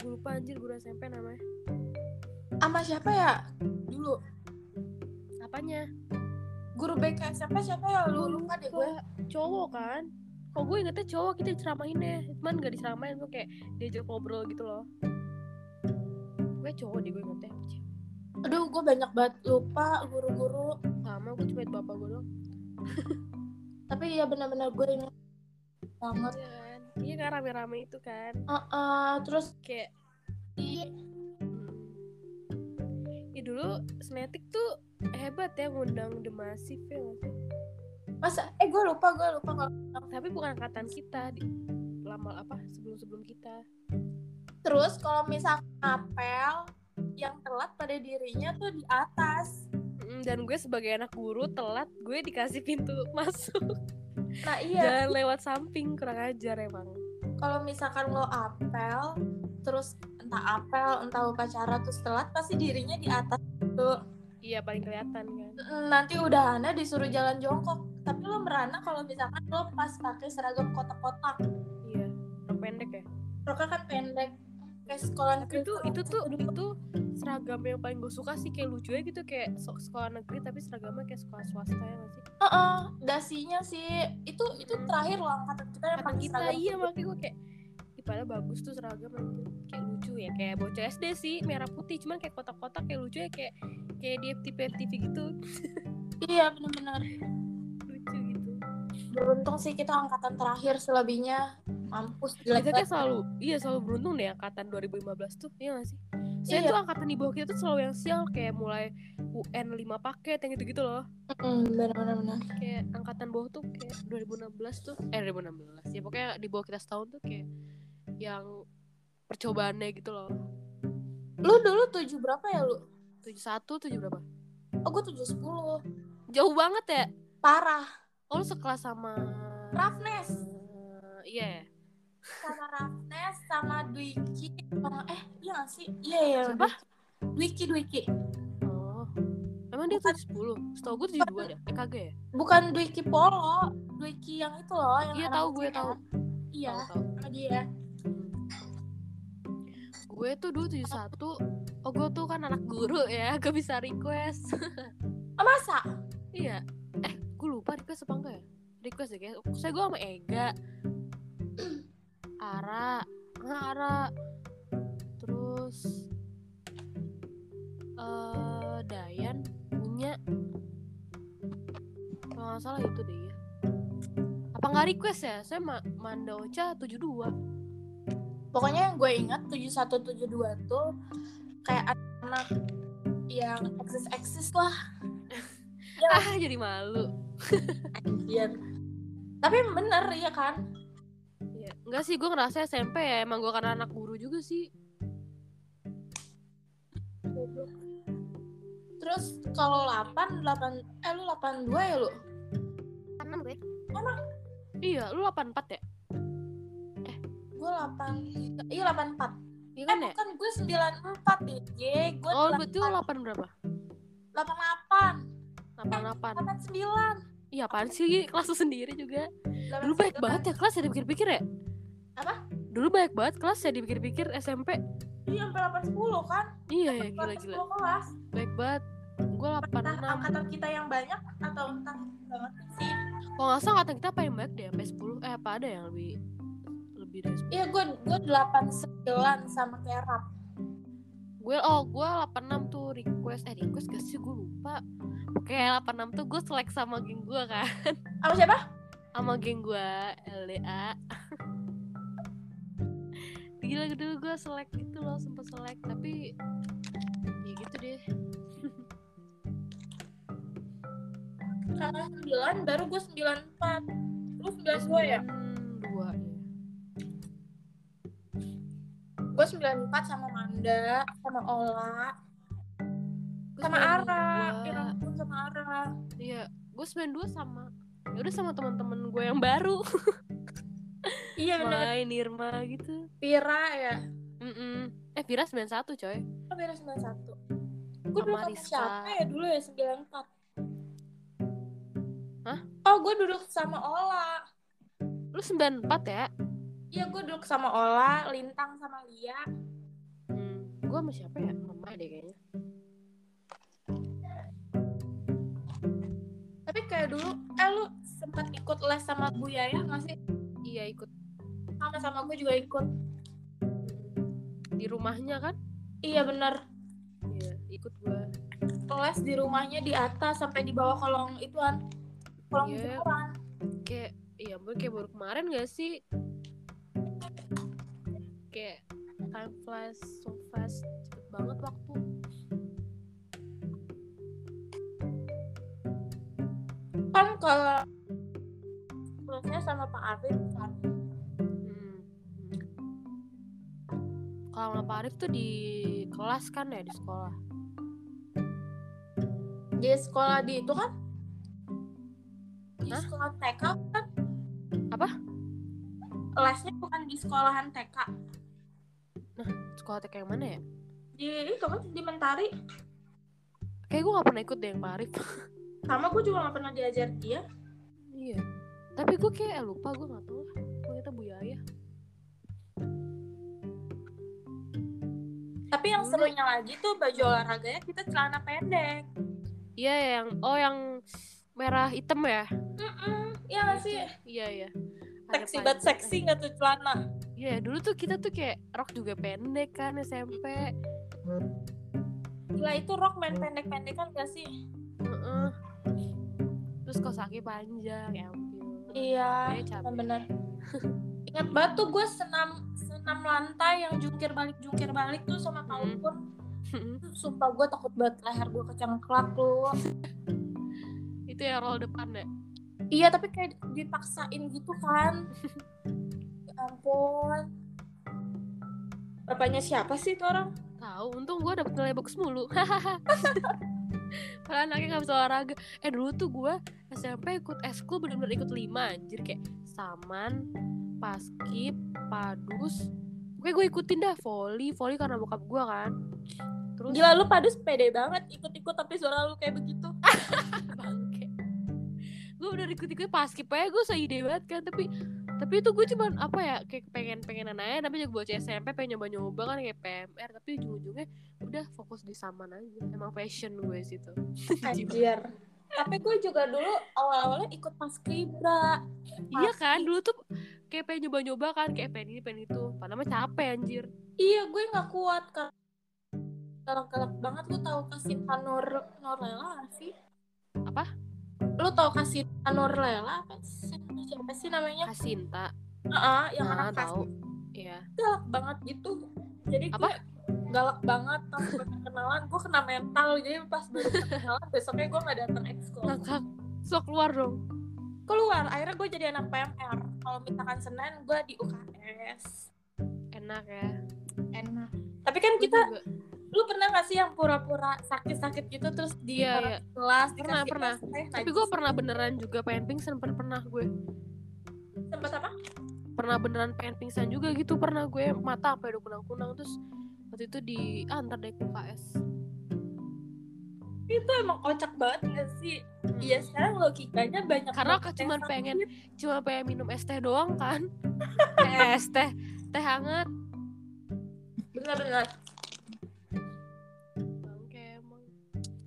Speaker 1: gue lupa anjir guru SMP namanya
Speaker 2: Sama siapa ya? Dulu
Speaker 1: apanya
Speaker 2: guru BK SMP siapa ya? Lu lupa deh gue.
Speaker 1: Kok cowok kan kok gue ingetnya cowok kita ceramahin ya cuman gak diceramahin gue kayak diajak ngobrol gitu loh gue cowok deh gue ingetnya
Speaker 2: Aduh, gue banyak banget lupa guru-guru.
Speaker 1: sama gue cuma itu bapak gue doang
Speaker 2: Tapi ya benar-benar gue ingat banget.
Speaker 1: Iya kan iya kan rame-rame itu kan
Speaker 2: Heeh, terus
Speaker 1: kayak
Speaker 2: di
Speaker 1: hmm. ya dulu Senetik tuh hebat ya ngundang The Massive ya nggak sih?
Speaker 2: masa eh gue lupa gue lupa kalau
Speaker 1: tapi bukan angkatan kita di lama apa sebelum-sebelum kita
Speaker 2: terus kalau misal apel yang telat pada dirinya tuh di atas.
Speaker 1: Mm, dan gue sebagai anak guru telat gue dikasih pintu masuk
Speaker 2: Nah iya,
Speaker 1: jangan lewat samping kurang ajar emang
Speaker 2: kalau misalkan lo apel terus entah apel entah upacara terus telat pasti dirinya di atas tuh.
Speaker 1: iya paling kelihatan kan
Speaker 2: nanti udah Ana disuruh jalan jongkok tapi lo merana kalau misalkan lo pas pakai seragam kotak-kotak
Speaker 1: iya rok pendek ya
Speaker 2: roknya kan pendek kayak sekolah negeri
Speaker 1: itu itu tuh itu seragam yang paling gue suka sih kayak lucu ya gitu kayak so- sekolah negeri tapi seragamnya kayak sekolah swasta ya nggak sih
Speaker 2: Heeh, dasinya sih itu itu
Speaker 1: Hmm.
Speaker 2: terakhir loh angkatan kita yang
Speaker 1: kata
Speaker 2: pakai
Speaker 1: kita
Speaker 2: seragam
Speaker 1: iya makanya gue kayak "Ih, padahal bagus tuh seragam anjir." kayak lucu ya kayak bocah SD sih merah putih cuman kayak kotak-kotak kayak lucu ya kayak kayak di FTV FTV gitu
Speaker 2: iya benar-benar
Speaker 1: lucu gitu
Speaker 2: beruntung sih kita angkatan terakhir selebihnya mampus jelek
Speaker 1: kita kayak
Speaker 2: banget.
Speaker 1: selalu iya selalu beruntung deh angkatan 2015 tuh iya gak sih saya
Speaker 2: Iya.
Speaker 1: tuh angkatan di bawah kita tuh selalu yang sial kayak mulai UN 5 paket yang gitu-gitu loh
Speaker 2: Mm, benar-benar benar.
Speaker 1: kayak angkatan bawah tuh kayak 2016 tuh eh 2016 ya pokoknya di bawah kita setahun tuh kayak yang percobaannya gitu loh
Speaker 2: lu dulu tujuh berapa ya lu
Speaker 1: 71 tujuh berapa
Speaker 2: oh gue tujuh sepuluh
Speaker 1: jauh banget ya
Speaker 2: parah
Speaker 1: oh lu sekelas sama
Speaker 2: Rafnes
Speaker 1: Eh, iya ya?
Speaker 2: sama Rafnes sama Dwiki sama eh iya nggak sih iya iya
Speaker 1: Siapa?
Speaker 2: Dwiki Dwiki
Speaker 1: oh emang dia tuh 10 setahu gue tujuh dua ya eh kagak ya
Speaker 2: bukan Dwiki Polo Dwiki yang itu loh yang
Speaker 1: Iya,
Speaker 2: anak
Speaker 1: tahu,
Speaker 2: kecil
Speaker 1: gue
Speaker 2: kan.
Speaker 1: tahu.
Speaker 2: iya
Speaker 1: Tahu, tahu.
Speaker 2: sama dia
Speaker 1: gue tuh dulu 71 oh gue tuh kan anak guru ya gue bisa request
Speaker 2: oh, masa
Speaker 1: iya eh gue lupa request apa enggak ya request deh guys saya gue sama Ega Ara nah, Ara terus eh Dayan punya kalau nggak salah itu deh ya apa nggak request ya saya ma Mandocha 72
Speaker 2: Pokoknya yang gue ingat 7172 tuh kayak anak yang eksis-eksis lah
Speaker 1: ah jadi malu
Speaker 2: anjir. Tapi bener ya kan?
Speaker 1: ya. Enggak sih gue ngerasa SMP ya emang gue karena anak guru juga sih
Speaker 2: Terus kalau 8 8 eh lu 82 ya lu?
Speaker 3: Karena gue
Speaker 1: iya lu 84 ya
Speaker 2: Gue 8 Iya 84.
Speaker 1: iya
Speaker 2: Eh
Speaker 1: kan ya
Speaker 2: bukan gue 94 ya. Ye, gue
Speaker 1: oh betul 8 berapa
Speaker 2: 88.
Speaker 1: 88
Speaker 2: 89.
Speaker 1: iya apaan sih kelas lu sendiri juga dulu baik
Speaker 2: kan?
Speaker 1: banget ya kelas ya dipikir-pikir ya
Speaker 2: Apa?
Speaker 1: dulu baik banget kelas ya dipikir-pikir SMP
Speaker 2: Iya sampai 810 kan?
Speaker 1: iya ya
Speaker 2: Sampai
Speaker 1: gila-gila
Speaker 2: 810 kelas.
Speaker 1: baik banget gue
Speaker 2: Entah
Speaker 1: 86
Speaker 2: angkatan kita yang banyak atau entah banget sih.
Speaker 1: kalau nggak salah angkatan kita paling banyak deh sampai 10 eh apa ada yang lebih lebih dari 10
Speaker 2: Iya gue gue 89 sama kayak rap.
Speaker 1: gue oh gue 86 tuh request eh request gak sih gue lupa oke 86 tuh gue selek sama geng gue kan
Speaker 2: Apa siapa?
Speaker 1: sama geng gue LDA gila dulu gue selek gitu loh sempet selek tapi ya gitu deh
Speaker 2: Karena 9 baru gue 94. Lu 92 ya?
Speaker 1: dua
Speaker 2: Gue 94 sama Manda, sama Ola, sama Ara. Ya ampun, sama Ara.
Speaker 1: iya gue 92 sama ya udah sama teman-teman gue yang baru
Speaker 2: Iya benar.
Speaker 1: main Nirma gitu
Speaker 2: Pira ya.
Speaker 1: Mm-mm. eh Vira 91 coy
Speaker 2: Apa Pira 91? Gue
Speaker 1: Sama
Speaker 2: dulu sama
Speaker 1: Rizka.
Speaker 2: siapa ya dulu ya 94?
Speaker 1: Hah?
Speaker 2: Oh gue duduk sama Ola.
Speaker 1: lu 94 ya
Speaker 2: Iya gue duduk sama Ola, Lintang sama Lia.
Speaker 1: hmm. gue sama siapa ya mama deh kayaknya
Speaker 2: Tapi kayak dulu, eh lu sempat ikut les sama Bu Yaya nggak sih?
Speaker 1: iya ikut
Speaker 2: Sama sama gue juga ikut.
Speaker 1: di rumahnya kan
Speaker 2: Iya bener.
Speaker 1: iya ikut gue
Speaker 2: les di rumahnya di atas sampai di bawah kolong ituan kolong
Speaker 1: Iya.
Speaker 2: jemuran
Speaker 1: kayak iya ampun kayak baru kemarin gak sih kayak time flies so fast cepet banget waktu
Speaker 2: kan kalau lesnya sama Pak Arif kan
Speaker 1: hmm. kalau sama Pak Arif tuh di kelas kan ya di sekolah
Speaker 2: di sekolah di itu kan di
Speaker 1: Hah?
Speaker 2: sekolah TK kan
Speaker 1: Apa?
Speaker 2: lesnya bukan di sekolahan TK
Speaker 1: sekolah TK yang mana ya
Speaker 2: di itu kan di Mentari
Speaker 1: kayak gue gak pernah ikut deh yang Pak Arif
Speaker 2: sama gue juga gak pernah diajar dia
Speaker 1: iya tapi gue kayak eh, lupa gue gak tau lah Pokoknya kita Bu Yaya
Speaker 2: tapi yang
Speaker 1: Hmm.
Speaker 2: serunya lagi tuh baju olahraganya kita celana pendek
Speaker 1: iya yang oh yang merah hitam ya
Speaker 2: Iya gak sih?
Speaker 1: iya iya Ada
Speaker 2: Seksi banget
Speaker 1: panjang.
Speaker 2: seksi gak tuh celana?
Speaker 1: Iya dulu tuh kita tuh kayak rok juga pendek kan SMP.
Speaker 2: Gila itu rok main pendek-pendekan gak sih?
Speaker 1: Heeh. Terus kosaki panjang ya ampun.
Speaker 2: Iya,
Speaker 1: Kayaknya capek.
Speaker 2: benar. Ingat banget tuh gue senam senam lantai yang jungkir balik jungkir balik tuh sama Pak
Speaker 1: Mm.
Speaker 2: Ukur. Tuh, Sumpah gue takut banget leher gue kecengklak tuh.
Speaker 1: Itu ya roll depan ya.
Speaker 2: Iya tapi kayak dipaksain gitu kan. Ya ampun. Bapaknya siapa sih itu orang?
Speaker 1: Tahu untung gue dapet nilai bagus mulu. Padahal anaknya gak bisa olahraga. Eh dulu tuh gue SMP ikut eskul bener-bener ikut lima anjir kayak saman, paskib, padus. Gue gue ikutin dah volley, volley karena bokap gue kan. Terus
Speaker 2: Gila lu padus pede banget ikut-ikut tapi suara lu kayak begitu.
Speaker 1: bangke gue udah ikut-ikut pas aja gue seide banget kan tapi tapi itu gue cuman apa ya kayak pengen pengenan aja tapi juga bocah SMP pengen nyoba nyoba kan kayak PMR tapi ujung-ujungnya udah fokus di saman aja emang passion gue situ
Speaker 2: Anjir. tapi gue juga dulu awal-awalnya ikut pas kibra
Speaker 1: Iya kan, dulu tuh kayak pengen nyoba-nyoba kan, kayak pengen ini, pengen itu. Padahal mah capek anjir.
Speaker 2: iya gue nggak kuat kan galak-galak banget lu tahu Kasinta Nur Norlela nggak sih
Speaker 1: Apa?
Speaker 2: lu tahu Kasinta Norlela apa sih siapa sih namanya
Speaker 1: Kasinta.
Speaker 2: Heeh, Iya. yang
Speaker 1: Nah,
Speaker 2: anak kas
Speaker 1: tahu. Iya.
Speaker 2: galak banget gitu jadi gue
Speaker 1: Apa?
Speaker 2: galak banget pas gue kenalan gue kena mental jadi pas baru kenalan besoknya gue nggak datang ekskul
Speaker 1: Ngakak. So keluar dong.
Speaker 2: Nah, keluar akhirnya gue jadi anak PMR kalau misalkan Senin gue di UKS
Speaker 1: Enak ya.
Speaker 2: enak tapi kan
Speaker 1: Gua
Speaker 2: kita
Speaker 1: juga.
Speaker 2: lu pernah gak sih yang pura-pura sakit-sakit gitu terus di
Speaker 1: Iya,
Speaker 2: taruh
Speaker 1: iya.
Speaker 2: di kelas
Speaker 1: Pernah,
Speaker 2: dikasih
Speaker 1: pernah.
Speaker 2: tes, teh,
Speaker 1: Tapi
Speaker 2: najis.
Speaker 1: gue pernah beneran juga pengen pingsan, pernah, pernah gue.
Speaker 2: sempet apa
Speaker 1: Pernah beneran pengen pingsan juga gitu, pernah gue mata apa udah kunang-kunang terus waktu itu di antar deh ke Hmm. UKS.
Speaker 2: itu emang kocak banget gak sih
Speaker 1: Hmm.
Speaker 2: iya sekarang logikanya banyak
Speaker 1: Karena
Speaker 2: banget
Speaker 1: cuman
Speaker 2: yang sakit.
Speaker 1: pengen cuma pengen minum es teh doang kan. es teh, teh hangat.
Speaker 2: bener-bener
Speaker 1: Bangke emang.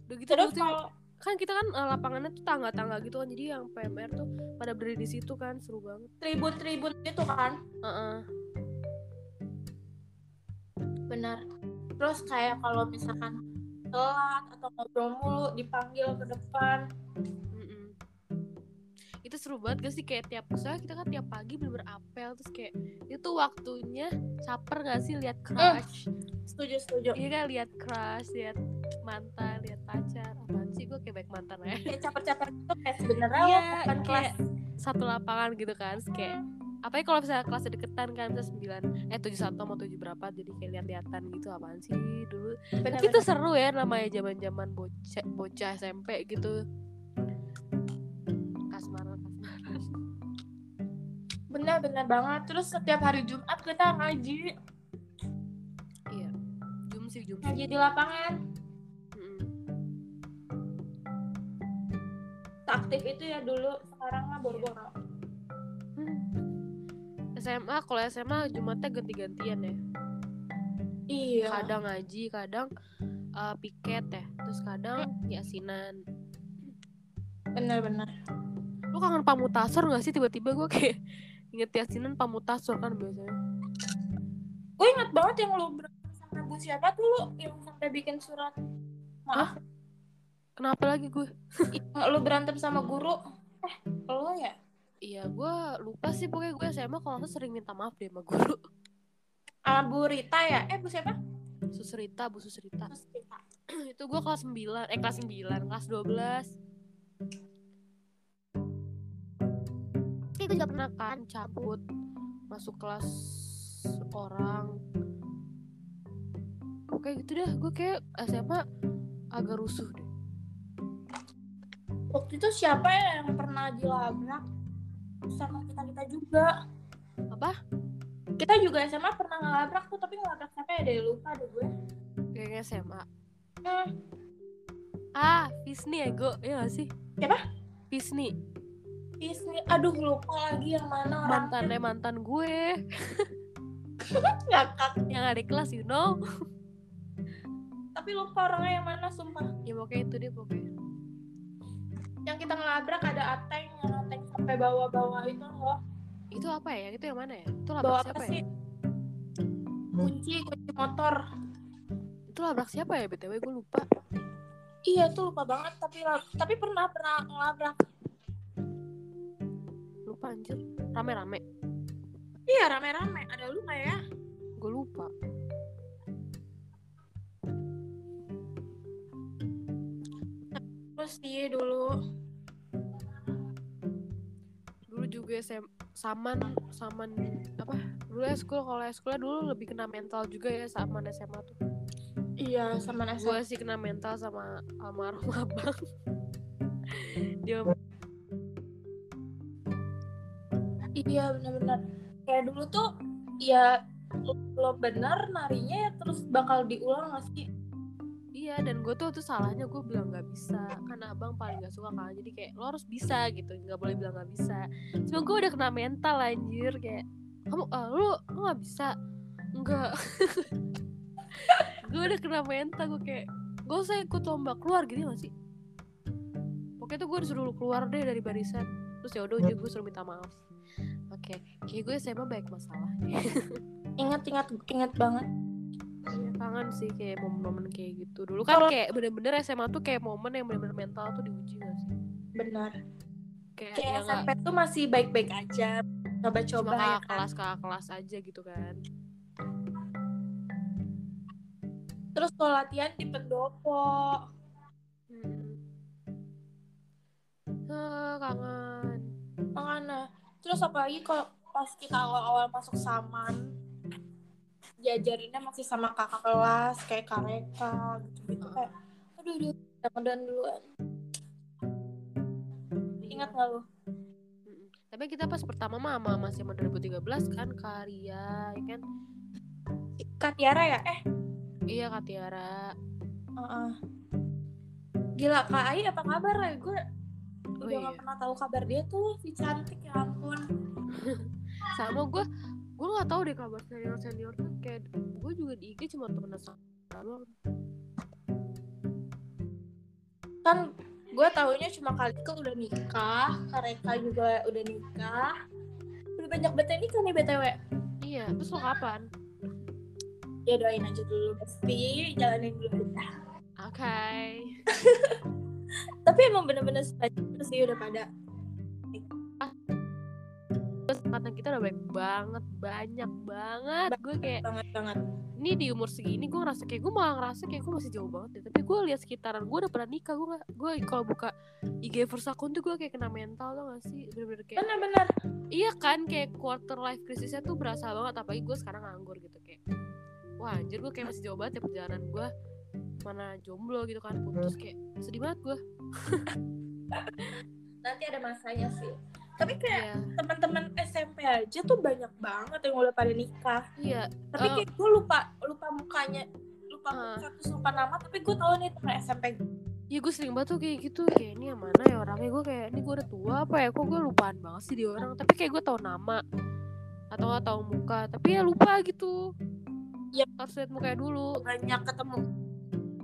Speaker 1: Udah gitu
Speaker 2: terus
Speaker 1: dulu tuh-
Speaker 2: kalau
Speaker 1: kan kita kan eh, lapangannya tuh tangga-tangga gitu kan jadi yang PMR tuh pada berdiri di situ kan seru banget
Speaker 2: tribun-tribun gitu kan
Speaker 1: Heeh.
Speaker 2: benar terus kayak kalau misalkan telat atau ngobrol mulu dipanggil ke depan
Speaker 1: Mm-mm. itu seru banget gak sih kayak tiap soalnya kita kan tiap pagi bener apel terus kayak itu waktunya caper gak sih lihat
Speaker 2: Eh,
Speaker 1: crush
Speaker 2: setuju setuju
Speaker 1: iya kan lihat crush lihat mantan lihat pacar apaan sih gue kayak baik mantan ya
Speaker 2: kayak caper-caper gitu kayak sebenarnya
Speaker 1: Iya,
Speaker 2: lo bukan kelas
Speaker 1: kayak- satu lapangan gitu kan terus kayak apalagi kalau misalnya kelas deketan kan misalnya 9 eh 71 sama 7 berapa jadi kayak lihat-lihatan gitu apaan sih dulu
Speaker 2: benar
Speaker 1: Tapi itu seru ya namanya zaman-zaman bocah bocah SMP gitu. Kasmaran, kasmaran.
Speaker 2: benar benar banget terus setiap hari Jumat kita ngaji
Speaker 1: Jum sih, jum sih.
Speaker 2: ngaji
Speaker 1: Hmm.
Speaker 2: di lapangan
Speaker 1: Mm-mm.
Speaker 2: aktif itu ya dulu sekarang mah boro-boro
Speaker 1: SMA kalau SMA Jumatnya ganti-gantian ya.
Speaker 2: iya
Speaker 1: Kadang ngaji, kadang uh, piket ya. Terus kadang yasinan.
Speaker 2: benar benar
Speaker 1: Lu kangen pamutasor gak sih tiba-tiba gue kayak inget yasinan pamutasor kan biasanya.
Speaker 2: gue ingat banget yang lu berantem sama bu siapa tuh lu yang sampai bikin surat maaf
Speaker 1: Kenapa lagi gue?
Speaker 2: yang lu berantem sama guru eh lo ya
Speaker 1: Iya gue lupa sih pokoknya gue SMA kalau nggak salah sering minta maaf deh sama guru.
Speaker 2: sama bu Rita ya eh bu siapa
Speaker 1: Susrita, Bu Susrita.
Speaker 2: Terus Rita.
Speaker 1: itu gue kelas 9 eh kelas 9 kelas 12 itu juga pernah kan cabut masuk kelas orang oke gitu dah gue kayak SMA agak rusuh deh
Speaker 2: waktu itu siapa ya yang pernah dilabrak sama kita kita juga
Speaker 1: Apa?
Speaker 2: kita juga SMA pernah ngelabrak tuh tapi ngelabrak siapa ya deh lupa deh gue
Speaker 1: kayaknya SMA
Speaker 2: hmm.
Speaker 1: ah Visni ya gue ya gak sih
Speaker 2: Siapa?
Speaker 1: Visni
Speaker 2: Disney Iya aduh lupa lagi yang mana orang
Speaker 1: mantannya mantan gue
Speaker 2: ngakak
Speaker 1: yang ada di kelas you know
Speaker 2: tapi lupa orangnya yang mana sumpah
Speaker 1: ya pokoknya itu deh pokoknya
Speaker 2: yang kita ngelabrak ada ateng yang ateng sampai bawa-bawa itu loh
Speaker 1: itu apa ya itu yang mana ya itu
Speaker 2: bawa
Speaker 1: labrak
Speaker 2: apa
Speaker 1: siapa ya
Speaker 2: sih kunci kunci motor
Speaker 1: itu labrak siapa ya btw gue lupa
Speaker 2: iya tuh lupa banget tapi lab- tapi pernah pernah ngelabrak
Speaker 1: lupa anjir rame-rame
Speaker 2: iya rame-rame ada lu nggak ya
Speaker 1: gue lupa
Speaker 2: terus sih dulu
Speaker 1: dulu juga SM, saman saman apa dulu eskul kalau eskul dulu lebih kena mental juga ya saman SMA tuh
Speaker 2: iya sama
Speaker 1: gue sih kena mental sama almarhum abang dia
Speaker 2: iya benar-benar kayak dulu tuh ya lo bener narinya ya terus bakal diulang nggak sih
Speaker 1: iya dan gue tuh tuh salahnya gue bilang nggak bisa karena abang paling gak suka kan jadi kayak lo harus bisa gitu nggak boleh bilang nggak bisa cuma gue udah kena mental anjir kayak kamu eh, lu lu nggak bisa enggak gue udah kena mental gue kayak gue usah ikut lomba keluar gitu gak sih oke besoknya tuh gue disuruh keluar deh dari barisan terus ya udah ujung gue suruh minta maaf oke kayak gue SMA baik masalah ya.
Speaker 2: Ingat-ingat ingat banget.
Speaker 1: kangen sih kayak momen-momen kayak gitu dulu kan kayak bener-bener SMA tuh kayak momen yang bener-bener mental tuh diuji gak sih
Speaker 2: Benar.
Speaker 1: kayak, ya
Speaker 2: Kayak
Speaker 1: nggak-
Speaker 2: SMP tuh masih baik-baik aja.
Speaker 1: cuma
Speaker 2: Coba-coba ya
Speaker 1: kakak
Speaker 2: kan.
Speaker 1: kelas kakak kelas aja gitu kan
Speaker 2: Terus kalau latihan di pendopo.
Speaker 1: Eh, kangen
Speaker 2: Makanya. Terus apalagi kalau pas kita awal-awal masuk saman, diajarinnya masih sama kakak kelas, kayak kareka, gitu-gitu. Kayak, aduh, aduh, mudah-mudahan duluan. Ingat nggak lu?
Speaker 1: Mm-mm. tapi kita pas pertama mah sama masih sama 2013 kan karya ya kan
Speaker 2: Kak Tiara ya? Eh,
Speaker 1: iya Kak Tiara
Speaker 2: uh-uh. Gila, Kak Ai apa kabar ya? Gue
Speaker 1: Oh,
Speaker 2: udah nggak
Speaker 1: iya.
Speaker 2: pernah tahu kabar dia tuh, si cantik ya ampun.
Speaker 1: sama gue gue nggak tahu deh kabar senior senior tuh kayak gue juga di IG cuma temenan sama doang.
Speaker 2: Kan gue taunya cuma kali ke udah nikah, Kareka juga udah nikah. Udah banyak banget nikah nih BTW.
Speaker 1: iya terus lo kapan
Speaker 2: ya doain aja dulu pasti jalanin dulu aja.
Speaker 1: oke
Speaker 2: tapi emang bener-bener sebagus sih udah pada
Speaker 1: terus mantan kita udah baik banget banyak banget gue kayak
Speaker 2: banget banget
Speaker 1: ini di umur segini gue ngerasa kayak gue malah ngerasa kayak gue masih jauh banget deh tapi gue lihat sekitaran gue udah pernah nikah gue nggak- gue kalau buka IG first account tuh gue kayak kena mental tau gak sih bener-bener kayak
Speaker 2: bener-bener
Speaker 1: iya kan kayak quarter life krisisnya tuh berasa banget apalagi gue sekarang nganggur gitu kayak wah anjir gue kayak masih jauh banget ya perjalanan gue mana jomblo gitu kan putus kayak sedih banget gue
Speaker 2: nanti ada masanya sih tapi kayak
Speaker 1: iya
Speaker 2: teman-teman SMP aja tuh banyak banget yang udah pada nikah
Speaker 1: iya
Speaker 2: tapi
Speaker 1: Eh.
Speaker 2: kayak gue lupa lupa mukanya lupa
Speaker 1: Eh.
Speaker 2: muka terus lupa nama tapi gue tahu nih teman SMP
Speaker 1: iya gue sering banget tuh kayak gitu kayak ini yang mana ya orangnya gue kayak ini gue udah tua apa ya kok gue lupaan banget sih di orang tapi kayak gue tahu nama atau nggak tahu muka tapi ya lupa gitu
Speaker 2: Iya.
Speaker 1: harus lihat mukanya dulu
Speaker 2: banyak ketemu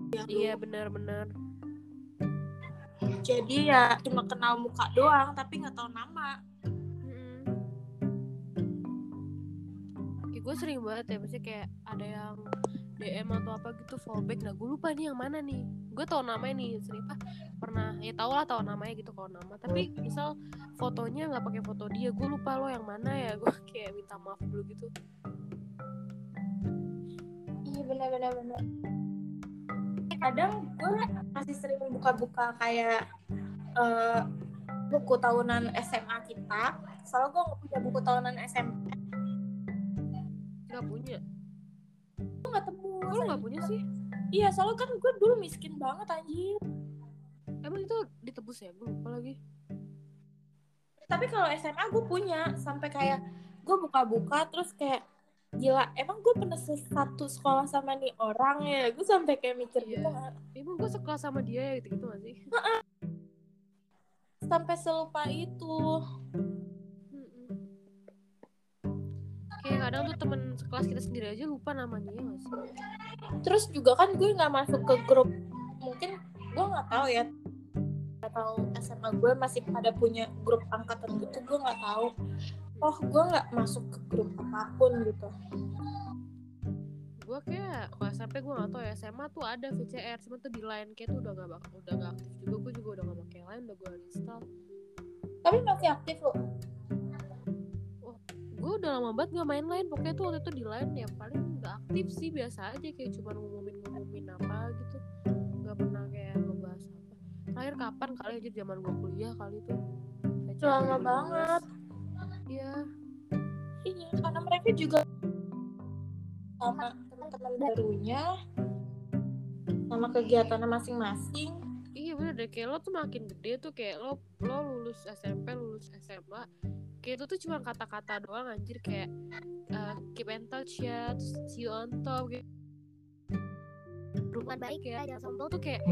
Speaker 2: Ya,
Speaker 1: iya benar-benar
Speaker 2: jadi ya cuma kenal muka doang tapi nggak tahu nama
Speaker 1: Mm-mm. Kayak gue sering banget ya Maksudnya kayak ada yang DM atau apa gitu fallback Nah gue lupa nih yang mana nih Gue tau namanya nih sering ah, pernah Ya tau lah tau namanya gitu kalau nama Tapi misal fotonya nggak pakai foto dia Gue lupa lo yang mana ya Gue kayak minta maaf dulu gitu
Speaker 2: iya benar-benar benar Eh, kadang gue masih sering buka-buka kayak eh, buku tahunan SMA kita soalnya gue nggak punya buku tahunan SMA
Speaker 1: Gak punya
Speaker 2: gue nggak temu
Speaker 1: Kok lo gak punya sih?
Speaker 2: iya soalnya kan gue dulu miskin banget anjir
Speaker 1: Emang itu ditebus ya? Gue lupa lagi
Speaker 2: tapi kalau SMA gue punya sampai kayak gue buka-buka terus kayak gila emang gue pernah satu sekolah sama nih orang ya gue sampai kayak mikir
Speaker 1: Iya.
Speaker 2: gitu
Speaker 1: Emang gue sekelas sama dia ya gitu-gitu gak sih?
Speaker 2: sampai selupa itu
Speaker 1: Mm-mm. Kayak kadang tuh temen sekelas kita sendiri aja lupa namanya ya gak sih?
Speaker 2: terus juga kan gue nggak masuk ke grup mungkin gue nggak tahu ya atau SMA gue masih pada punya grup angkatan gitu gue nggak tahu oh gue nggak masuk ke grup apapun gitu
Speaker 1: gue kayak kalau SMP gue gak tau ya SMA tuh ada VCR cuma tuh di line kayak tuh udah gak bak- udah gak aktif juga gue juga udah gak pakai line udah gue uninstall
Speaker 2: tapi masih aktif loh
Speaker 1: gue udah lama banget gak main line pokoknya tuh waktu itu di line ya paling gak aktif sih biasa aja kayak cuma ngumumin ngumumin apa gitu gak pernah kayak ngebahas apa terakhir kapan kali aja zaman gue kuliah kali tuh VCR
Speaker 2: Udah lama
Speaker 1: 2015.
Speaker 2: banget.
Speaker 1: iya
Speaker 2: iya karena mereka juga sama teman-teman barunya sama kegiatannya masing-masing
Speaker 1: Iya bener deh kayak lo tuh makin gede tuh kayak lo lo lulus SMP lulus SMA kayak itu tuh cuma kata-kata doang anjir kayak uh, keep in touch ya terus see you on top gitu. Berhubungan baik ya jangan sombong tuh kayak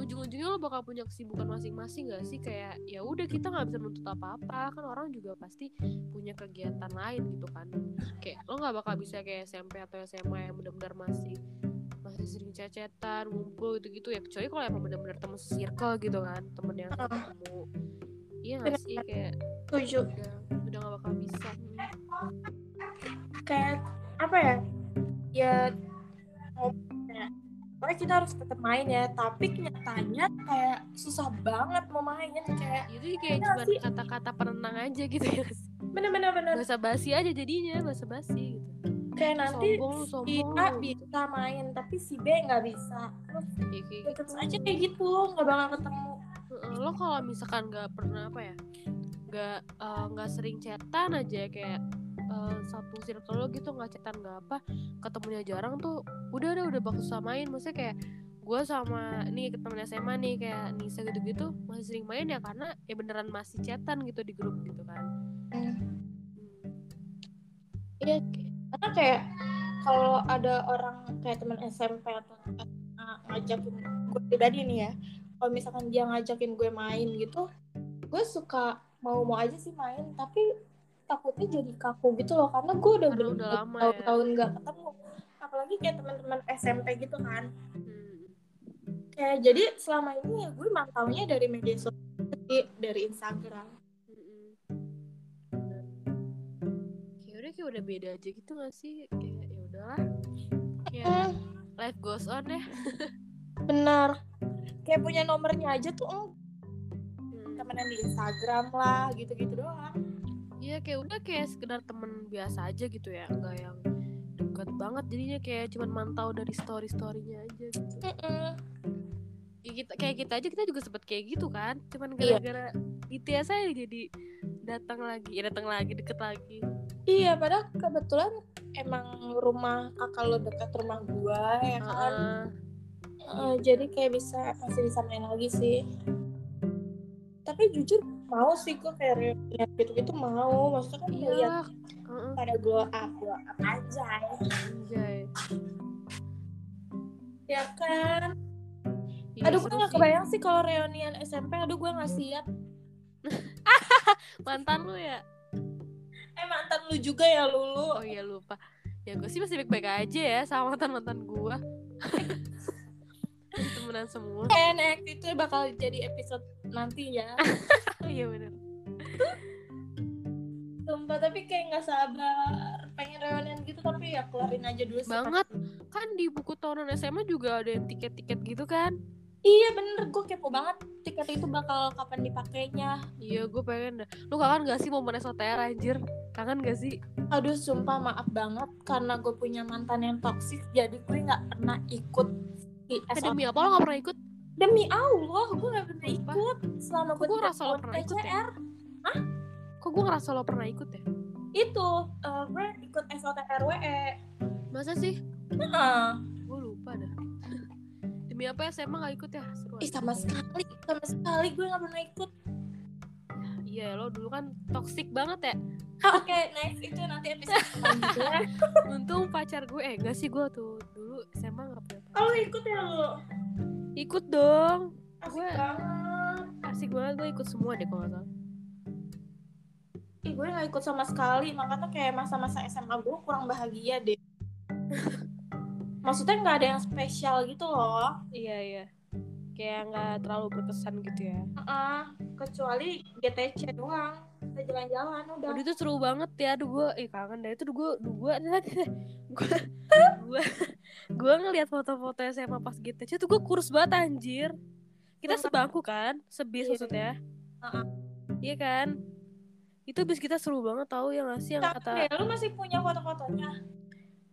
Speaker 1: ujung-ujungnya lo bakal punya kesibukan masing-masing gak sih kayak ya udah kita nggak bisa menuntut apa-apa kan orang juga pasti punya kegiatan
Speaker 2: Hmm.
Speaker 1: lain gitu kan kayak lo nggak bakal bisa kayak SMP atau SMA yang benar-benar masih masih kayak sering cecetan ngumpul gitu-gitu ya kecuali kalau emang bener-bener temen circle gitu kan temen yang
Speaker 2: Heeh.
Speaker 1: ketemu iya gak sih kayak
Speaker 2: setuju
Speaker 1: udah udah gak bakal bisa Hmm.
Speaker 2: kayak apa ya ya ya, pokoknya kita harus tetap main ya tapi nyatanya kayak susah banget mau main kayak
Speaker 1: itu Ya kayak
Speaker 2: Iya
Speaker 1: cuma
Speaker 2: sih.
Speaker 1: kata-kata perenang aja gitu ya gak sih?
Speaker 2: bener-bener bener
Speaker 1: bahasa basi aja jadinya bahasa basi gitu
Speaker 2: kayak nanti
Speaker 1: sombong lu,
Speaker 2: si
Speaker 1: sombong
Speaker 2: A
Speaker 1: lu, gitu.
Speaker 2: bisa main tapi si B nggak bisa terus
Speaker 1: Ya, kayak
Speaker 2: ya terus aja kayak gitu nggak bakal ketemu
Speaker 1: Heeh, lo kalau misalkan nggak pernah apa ya nggak eh, nggak sering chatan aja kayak eh, satu circle lo gitu nggak chatan nggak apa ketemunya jarang tuh udah udah udah bakal susah main maksudnya kayak gue sama nih temen SMA nih kayak Nisa gitu-gitu masih sering main ya karena ya beneran masih chatan gitu di grup gitu kan
Speaker 2: Hmm. Iya, karena kayak kalau ada orang kayak teman SMP atau SMA ngajakin gue pribadi nih ya, kalau misalkan dia ngajakin gue main gitu, gue suka mau-mau aja sih main, tapi takutnya jadi kaku gitu loh, karena gue udah
Speaker 1: Karena udah lama ya.
Speaker 2: tahun-tahun nggak ketemu, apalagi kayak teman-teman SMP gitu kan,
Speaker 1: Hmm.
Speaker 2: kayak jadi selama ini ya gue mantaunya dari media sosial, sih, dari Instagram.
Speaker 1: Mm-mm. Bener. hmm, Kayak udah kayak udah beda aja gitu gak sih kayak ya udahlah kayak
Speaker 2: Eh,
Speaker 1: Iya, life goes on ya
Speaker 2: benar. Kayak punya nomornya aja tuh enggak.
Speaker 1: Hmm.
Speaker 2: temenan di Instagram lah gitu-gitu doang
Speaker 1: Iya kayak udah kayak sekedar temen biasa aja gitu ya Nggak yang deket banget jadinya kayak cuman mantau dari story-storynya aja gitu Ya kita, Kayak kita aja kita juga sempet kayak gitu kan Cuman
Speaker 2: Iya.
Speaker 1: gara-gara BTS aja jadi datang lagi Ya datang lagi deket lagi
Speaker 2: iya padahal kebetulan emang rumah kakak lo dekat rumah gua ya kan
Speaker 1: Heeh.
Speaker 2: Eh, jadi kayak bisa masih bisa main lagi sih tapi jujur mau sih gua kayak reunian gitu-gitu mau maksudnya kan
Speaker 1: Iya
Speaker 2: lihat
Speaker 1: Heeh,
Speaker 2: pada glow up glow up aja
Speaker 1: anjay.
Speaker 2: ya kan
Speaker 1: Iya,
Speaker 2: aduh
Speaker 1: seru
Speaker 2: gua nggak
Speaker 1: sih.
Speaker 2: kebayang sih kalau reunian SMP aduh gua nggak siap
Speaker 1: Mantan lu ya
Speaker 2: eh mantan lu juga ya
Speaker 1: Oh
Speaker 2: lulu
Speaker 1: iya lupa Ya gue sih masih baik-baik aja ya sama mantan-mantan gue Temenan semua
Speaker 2: Eh, next itu bakal jadi episode nanti ya
Speaker 1: Iya bener
Speaker 2: Sumpah tapi kayak nggak sabar pengen reunian gitu tapi ya keluarin aja dulu sih.
Speaker 1: Banget. Kan di buku tahunan SMA juga ada yang tiket-tiket gitu kan
Speaker 2: Iya bener gue kepo banget tiket itu bakal kapan dipakainya.
Speaker 1: Iya gue pengen dah Lu kangen gak sih momen SOTR anjir? Kangen gak sih?
Speaker 2: Aduh sumpah maaf banget karena gue punya mantan yang toksik jadi gue nggak pernah ikut di
Speaker 1: Eh,
Speaker 2: SOT.
Speaker 1: demi apa lo gak pernah ikut?
Speaker 2: Demi Allah gue nggak pernah
Speaker 1: Sumpah.
Speaker 2: ikut selama gue
Speaker 1: Kok gue
Speaker 2: tidak
Speaker 1: rasa lo
Speaker 2: ikut
Speaker 1: pernah ikut ya?
Speaker 2: PCR
Speaker 1: Kok gue ngerasa lo pernah ikut ya?
Speaker 2: itu eh, gue ikut SOTRWE.
Speaker 1: Masa sih?
Speaker 2: E. Heeh.
Speaker 1: Gue lupa dah Demi apa SMA gak ikut ya? Seru
Speaker 2: Ih
Speaker 1: aja.
Speaker 2: sama sekali sama sekali gue nggak pernah ikut.
Speaker 1: Iya lo dulu kan toxic banget ya
Speaker 2: Ah, Oke next itu nanti episode selanjutnya.
Speaker 1: Untung pacar gue Eh gak sih gue tuh Dulu SMA gak pernah
Speaker 2: Kalau ikut ya lo
Speaker 1: Ikut dong
Speaker 2: asik
Speaker 1: Gue-
Speaker 2: banget.
Speaker 1: Asik banget gue ikut semua deh kalau gak salah
Speaker 2: Ih, gue gak ikut sama sekali, makanya kayak masa-masa SMA gue kurang bahagia deh. Maksudnya nggak ada yang spesial gitu loh,
Speaker 1: Iya iya Kayak gak terlalu berkesan gitu ya
Speaker 2: Heeh, kecuali GTC doang. Kita jalan-jalan udah.
Speaker 1: Aduh itu seru banget ya, aduh gue, eh kangen dari itu gue, gue, gue, gue, gue ngeliat foto-foto SMA pas GTC tuh gue kurus banget anjir. Kita sebangku kan, sebis
Speaker 2: Iya.
Speaker 1: maksudnya.
Speaker 2: Heeh.
Speaker 1: Iya kan? Itu bis kita seru banget tau ya gak sih yang
Speaker 2: Kangen
Speaker 1: kata
Speaker 2: deh, lu masih punya foto-fotonya.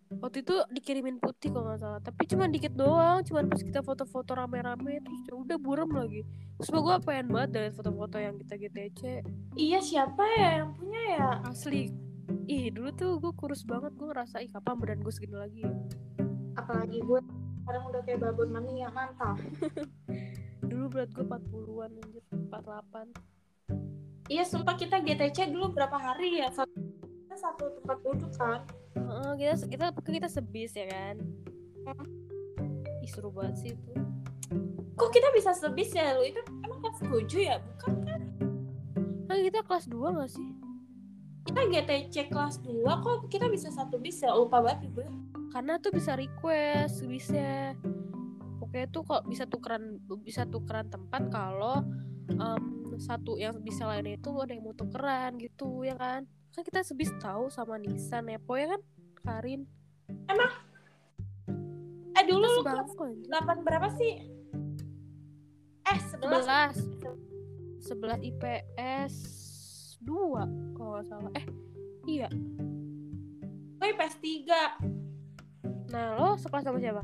Speaker 1: waktu itu dikirimin putih kalau nggak salah tapi cuma dikit doang cuman pas kita foto-foto rame-rame terus ya udah buram lagi terus gue pengen banget dari foto-foto yang kita GTC
Speaker 2: Iya, siapa ya yang punya ya?
Speaker 1: asli ih dulu tuh gue kurus banget gue ngerasa ih kapan badan gue segini lagi ya
Speaker 2: Apalagi gue sekarang udah kayak babon mania, mantap.
Speaker 1: Dulu berat gue 40-an anjir, 48.
Speaker 2: Iya, sumpah kita GTC dulu berapa hari ya? Satu, kita satu tempat duduk kan.
Speaker 1: Heeh, kita kita kita sebis ya kan. Ih, seru banget sih itu.
Speaker 2: Kok kita bisa sebis ya lu? Itu emang kelas 7 ya? Bukan
Speaker 1: Kan kita kelas 2 gak sih?
Speaker 2: Kan kita GTC kelas 2 kok kita bisa satu bis ya lupa banget gue
Speaker 1: karena tuh bisa request bisa pokoknya tuh kok bisa tukeran bisa tukeran tempat kalau em, satu yang bisa lainnya itu ada yang mau tukeran gitu ya kan kan kita sebis tahu sama Nisa Nepo ya kan Karin
Speaker 2: Eh dulu
Speaker 1: kita
Speaker 2: lu kelas
Speaker 1: sebangku anjir.
Speaker 2: 8 berapa sih? Eh 11
Speaker 1: 11 11 IPS 2 kalau nggak salah eh iya
Speaker 2: Gue IPS 3
Speaker 1: nah lo sekelas sama siapa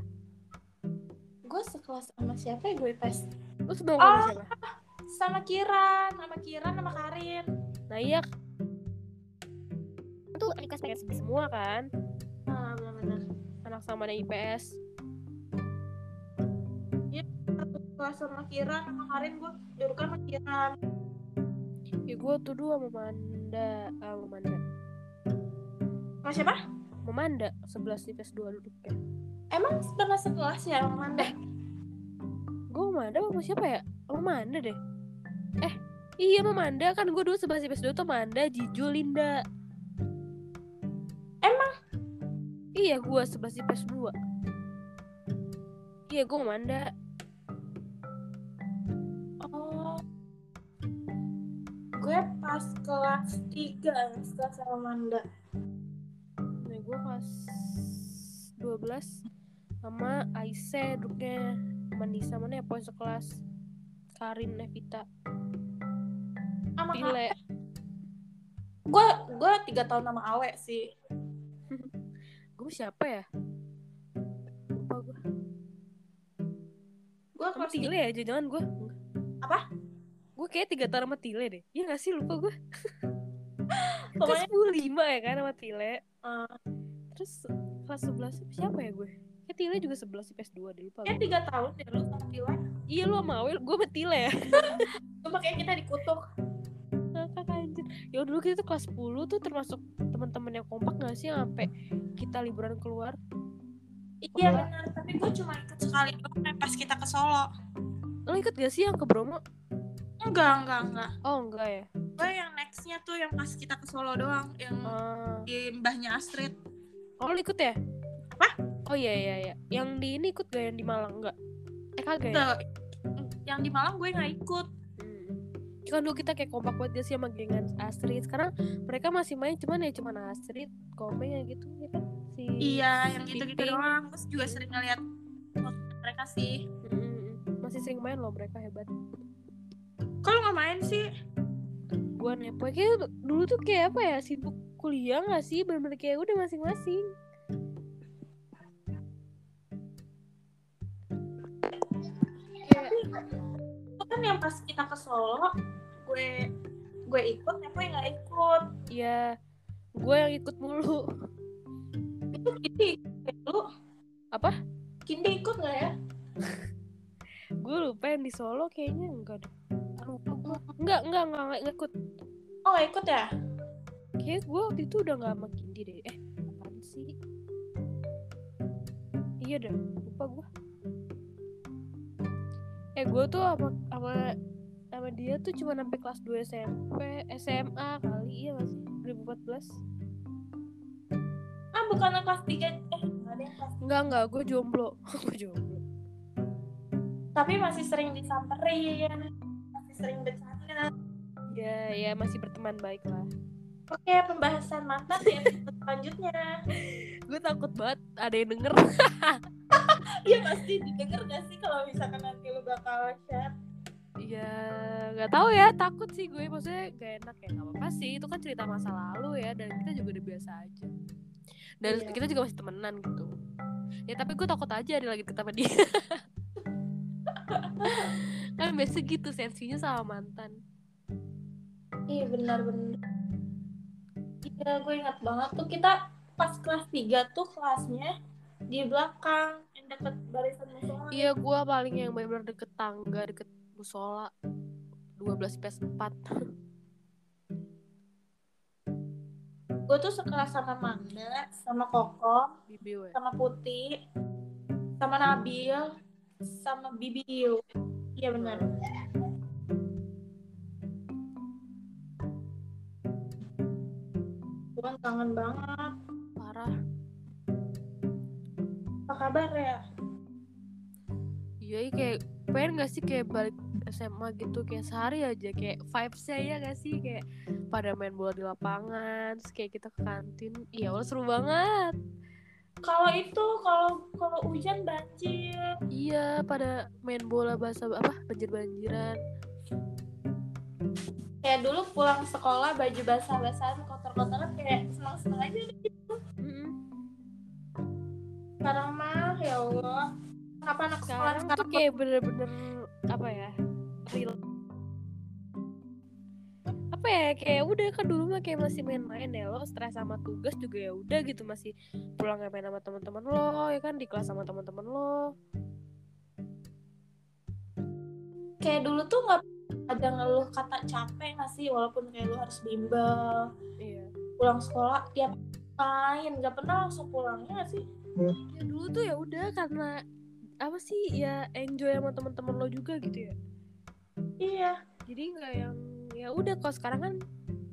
Speaker 2: Gue sekelas sama siapa ya gue IPS?
Speaker 1: lo sebangku sama
Speaker 2: Oh.
Speaker 1: siapa
Speaker 2: Sama Kiran, sama Kiran, sama Karin
Speaker 1: nah iya
Speaker 3: Itu request pengen
Speaker 1: IPS semua kan
Speaker 2: Ah bener-bener
Speaker 1: anak sama ada IPS
Speaker 2: Satu kelas sama Kiran, sama Karin gue Jurukan sama Kiran
Speaker 1: ya gue tuh dua memanda ah, memanda
Speaker 2: Sama siapa?
Speaker 1: memanda 11 IPS 2 duduk ya
Speaker 2: Emang pernah sekelas ya sama Manda?
Speaker 1: gue memanda apa sama siapa ya memanda deh eh iya memanda kan gue dulu 11 IPS 2 tuh memanda Jiju Linda
Speaker 2: Emang?
Speaker 1: iya gue 11 IPS 2 iya gue memanda
Speaker 2: Oh Gue pas kelas 3 Sekelas sama Manda
Speaker 1: nah gue kelas 12 sama Aisyah duduknya Manisa mana ya poin sekelas Karin Nevita
Speaker 2: Sama Karin
Speaker 1: Pile
Speaker 2: gue gue tiga tahun sama Awe sih
Speaker 1: gue siapa ya lupa gue
Speaker 2: gue
Speaker 1: sama
Speaker 2: kelas
Speaker 1: Tile ya jangan gue
Speaker 2: Apa?
Speaker 1: gue kayak tiga tahun sama Tile deh iya gak sih lupa gue
Speaker 2: tiga,
Speaker 1: kelas
Speaker 2: pokoknya
Speaker 1: 15 lima ya kan sama Tile
Speaker 2: eh,
Speaker 1: terus kelas 11 siapa ya gue kayak Tile juga 11 IPS 2 deh lupa
Speaker 2: ya
Speaker 1: gue
Speaker 2: tiga tahun deh lu sama Tila
Speaker 1: iya lu sama Awel gue sama Tile ya
Speaker 2: gue makanya kita dikutuk
Speaker 1: ngakak anjir ya dulu kita tuh kelas 10 tuh termasuk teman-teman yang kompak gak sih yang sampai kita liburan keluar
Speaker 2: iya benar tapi gue cuma ikut sekali doang eh, pas kita ke Solo
Speaker 1: lo ikut gak sih yang ke Bromo
Speaker 2: enggak enggak enggak
Speaker 1: oh enggak ya
Speaker 2: gue yang nextnya tuh yang pas kita ke Solo doang yang
Speaker 1: Ah.
Speaker 2: di mbahnya Astrid
Speaker 1: oh lo ikut ya
Speaker 2: Apa?
Speaker 1: oh iya iya iya yang di ini ikut gak yang di Malang enggak eh kagak ya
Speaker 2: Tuh, yang di Malang gue nggak ikut
Speaker 1: hmm. kan dulu kita kayak kompak banget gak sih sama gengan Astrid sekarang mereka masih main cuman ya cuman Astrid Komeng ya gitu ya kan si
Speaker 2: iya yang gitu gitu
Speaker 1: Piping.
Speaker 2: doang terus juga sering ngeliat mereka sih
Speaker 1: Mm-mm. masih sering main loh mereka hebat
Speaker 2: kalau nggak main sih
Speaker 1: gua nepo ya, kayak dulu tuh kayak apa ya sibuk kuliah gak sih bener-bener kayak udah masing-masing kayak
Speaker 2: itu kan yang pas kita ke Solo gue gue ikut tapi gue nggak ikut
Speaker 1: ya gue yang ikut mulu
Speaker 2: itu Kindi ikut ya, lu
Speaker 1: Apa?
Speaker 2: Kindi ikut nggak ya
Speaker 1: gue lupa yang di Solo kayaknya enggak deh lupa gue enggak enggak enggak enggak, enggak ikut
Speaker 2: oh nggak ikut ya
Speaker 1: kayak gue waktu itu udah nggak sama Kindi deh eh apaan sih iya deh lupa gue eh gue tuh sama sama sama dia tuh cuma sampai kelas 2 SMP SMA kali iya masih 2014
Speaker 2: ah bukan kelas tiga eh nggak ada yang kelas
Speaker 1: enggak enggak gue jomblo gue jomblo
Speaker 2: tapi masih sering disamperin masih sering bercanda
Speaker 1: ya ya masih berteman baik lah
Speaker 2: oke pembahasan mantan di episode selanjutnya
Speaker 1: gue takut banget ada yang denger
Speaker 2: iya pasti didengar gak sih kalau misalkan nanti lu bakal share
Speaker 1: ya nggak tahu ya takut sih gue maksudnya gak enak ya nggak apa-apa sih itu kan cerita masa lalu ya dan kita juga udah biasa aja dan
Speaker 2: Iya.
Speaker 1: kita juga masih temenan gitu ya tapi gue takut aja ada lagi ketemu dia kan biasa gitu sensinya sama mantan
Speaker 2: iya benar benar iya gue ingat banget tuh kita pas kelas 3 tuh kelasnya di belakang yang deket barisan musola
Speaker 1: iya gue paling yang benar-benar deket tangga deket musola 12 PS 4
Speaker 2: gue tuh sekelas sama Manda, sama Koko,
Speaker 1: BBW
Speaker 2: sama Putih, sama Nabil, sama Bibiu. Iya benar. Gue kangen banget.
Speaker 1: parah
Speaker 2: apa kabar ya?
Speaker 1: Iya, iya, kayak pengen gak sih kayak balik SMA gitu kayak sehari aja kayak vibes-nya ya gak sih kayak pada main bola di lapangan, terus kayak kita ke kantin. Iya, Allah seru banget.
Speaker 2: Kalau itu kalau kalau hujan banjir.
Speaker 1: Iya, pada main bola bahasa apa banjir-banjiran.
Speaker 2: Kayak dulu pulang sekolah baju basah-basahan kotor-kotoran kayak seneng-seneng aja
Speaker 1: Mm-mm.
Speaker 2: sekarang mah ya Allah. Kenapa anak sekolah
Speaker 1: Sekarang tuh
Speaker 2: sekarang
Speaker 1: kayak bener-bener apa ya? Real. Apa ya? Kayak udah kan dulu mah kayak masih main-main ya lo stres sama tugas juga ya udah gitu masih pulang ya main sama teman-teman lo ya kan di kelas sama teman-teman lo.
Speaker 2: kayak dulu tuh nggak ada ngeluh kata capek nggak sih walaupun kayak lu harus bimbel
Speaker 1: Iya.
Speaker 2: pulang sekolah tiap main nggak pernah langsung pulangnya nggak sih
Speaker 1: Ya dulu tuh ya udah karena apa sih ya enjoy sama teman-teman lo juga gitu ya.
Speaker 2: iya
Speaker 1: Jadi nggak yang ya udah kalau sekarang kan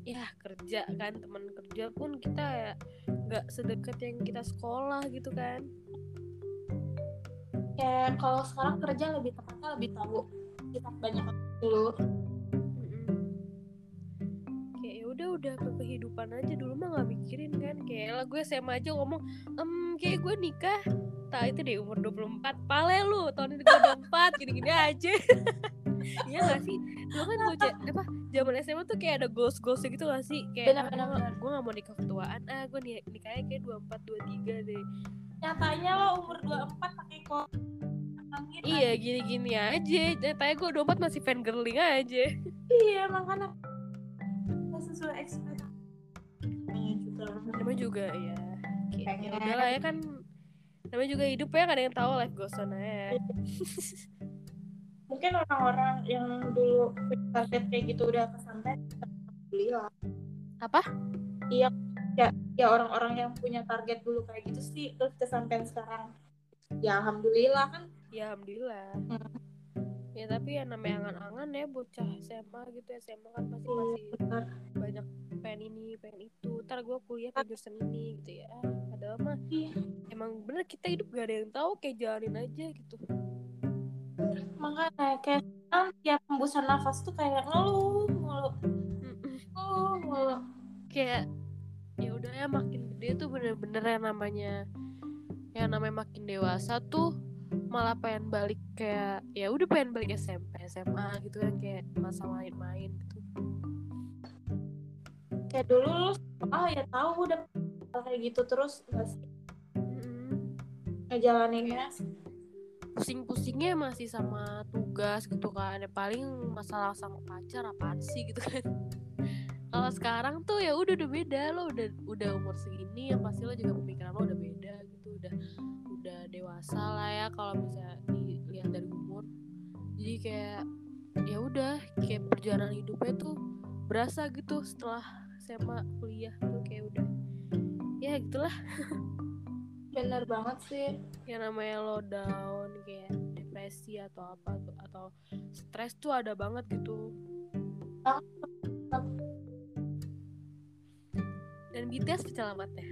Speaker 1: ya kerja kan teman kerja pun kita ya nggak sedekat yang kita sekolah gitu kan.
Speaker 2: kayak kalau sekarang kerja lebih tepatnya lebih tahu kita banyak dulu
Speaker 1: Mm-mm. kayak ya udah udah ke kehidupan aja dulu mah nggak mikirin kan kayak lah gue SMA aja ngomong em kayak gue nikah tak itu deh umur 24 pale lu tahun ini gue 24 gini-gini aja iya gak sih dulu kan gue ja- apa zaman SMA tuh kayak ada goals goals gitu gak sih kayak
Speaker 2: Benar,
Speaker 1: ah,
Speaker 2: benar,
Speaker 1: gue-
Speaker 2: benar.
Speaker 1: gue gak mau nikah ketuaan ah gue ni- nikahnya kayak 24 23 deh
Speaker 2: nyatanya lo umur 24 pakai kok angin kan?
Speaker 1: iya gini-gini aja nyatanya gue 24 masih fan girling aja
Speaker 2: iya makanya nggak sesuai ekspektasi Iya juga
Speaker 1: namanya juga ya kayak
Speaker 2: Pengen.
Speaker 1: ya udah lah ya kan namanya juga hidup ya gak ada yang tahu life goes on aja
Speaker 2: mungkin orang-orang yang dulu punya target kayak gitu udah kesampean alhamdulillah
Speaker 1: Apa?
Speaker 2: iya ya ya orang-orang yang punya target dulu kayak gitu sih terus kesampean sekarang ya alhamdulillah kan
Speaker 1: ya alhamdulillah ya tapi ya namanya angan-angan ya bocah SMA gitu SMA kan pasti masih
Speaker 2: benar
Speaker 1: banyak pengen ini pengen itu ntar gue kuliah ke jurusan ini gitu ya Ah, padahal mah
Speaker 2: Iya.
Speaker 1: emang bener kita hidup gak ada yang tahu kayak jalanin aja gitu
Speaker 2: makanya kayak sekarang tiap hembusan nafas tuh kayak ngeluh mulu
Speaker 1: Mm-mm.
Speaker 2: ngeluh mulu
Speaker 1: kayak ya udah ya makin gede tuh bener-bener yang namanya yang namanya makin dewasa tuh malah pengen balik kayak ya udah pengen balik SMP SMA gitu kan kayak masa main-main gitu
Speaker 2: kayak dulu lu ah ya tahu udah kayak gitu terus nggak sih
Speaker 1: Mm-mm.
Speaker 2: ngejalaninnya
Speaker 1: pusing-pusingnya masih sama tugas gitu kan ya paling masalah sama pacar apaan sih gitu kan kalau sekarang tuh ya udah udah beda lo udah udah umur segini yang pasti lo juga pemikiran lo udah beda gitu udah udah dewasa lah ya kalau bisa dilihat dari umur jadi kayak ya udah kayak perjalanan hidupnya tuh berasa gitu setelah SMA kuliah tuh kayak udah ya gitulah
Speaker 2: bener banget sih
Speaker 1: yang namanya lo down kayak depresi atau apa tuh atau stres tuh ada banget gitu dan BTS penyelamatnya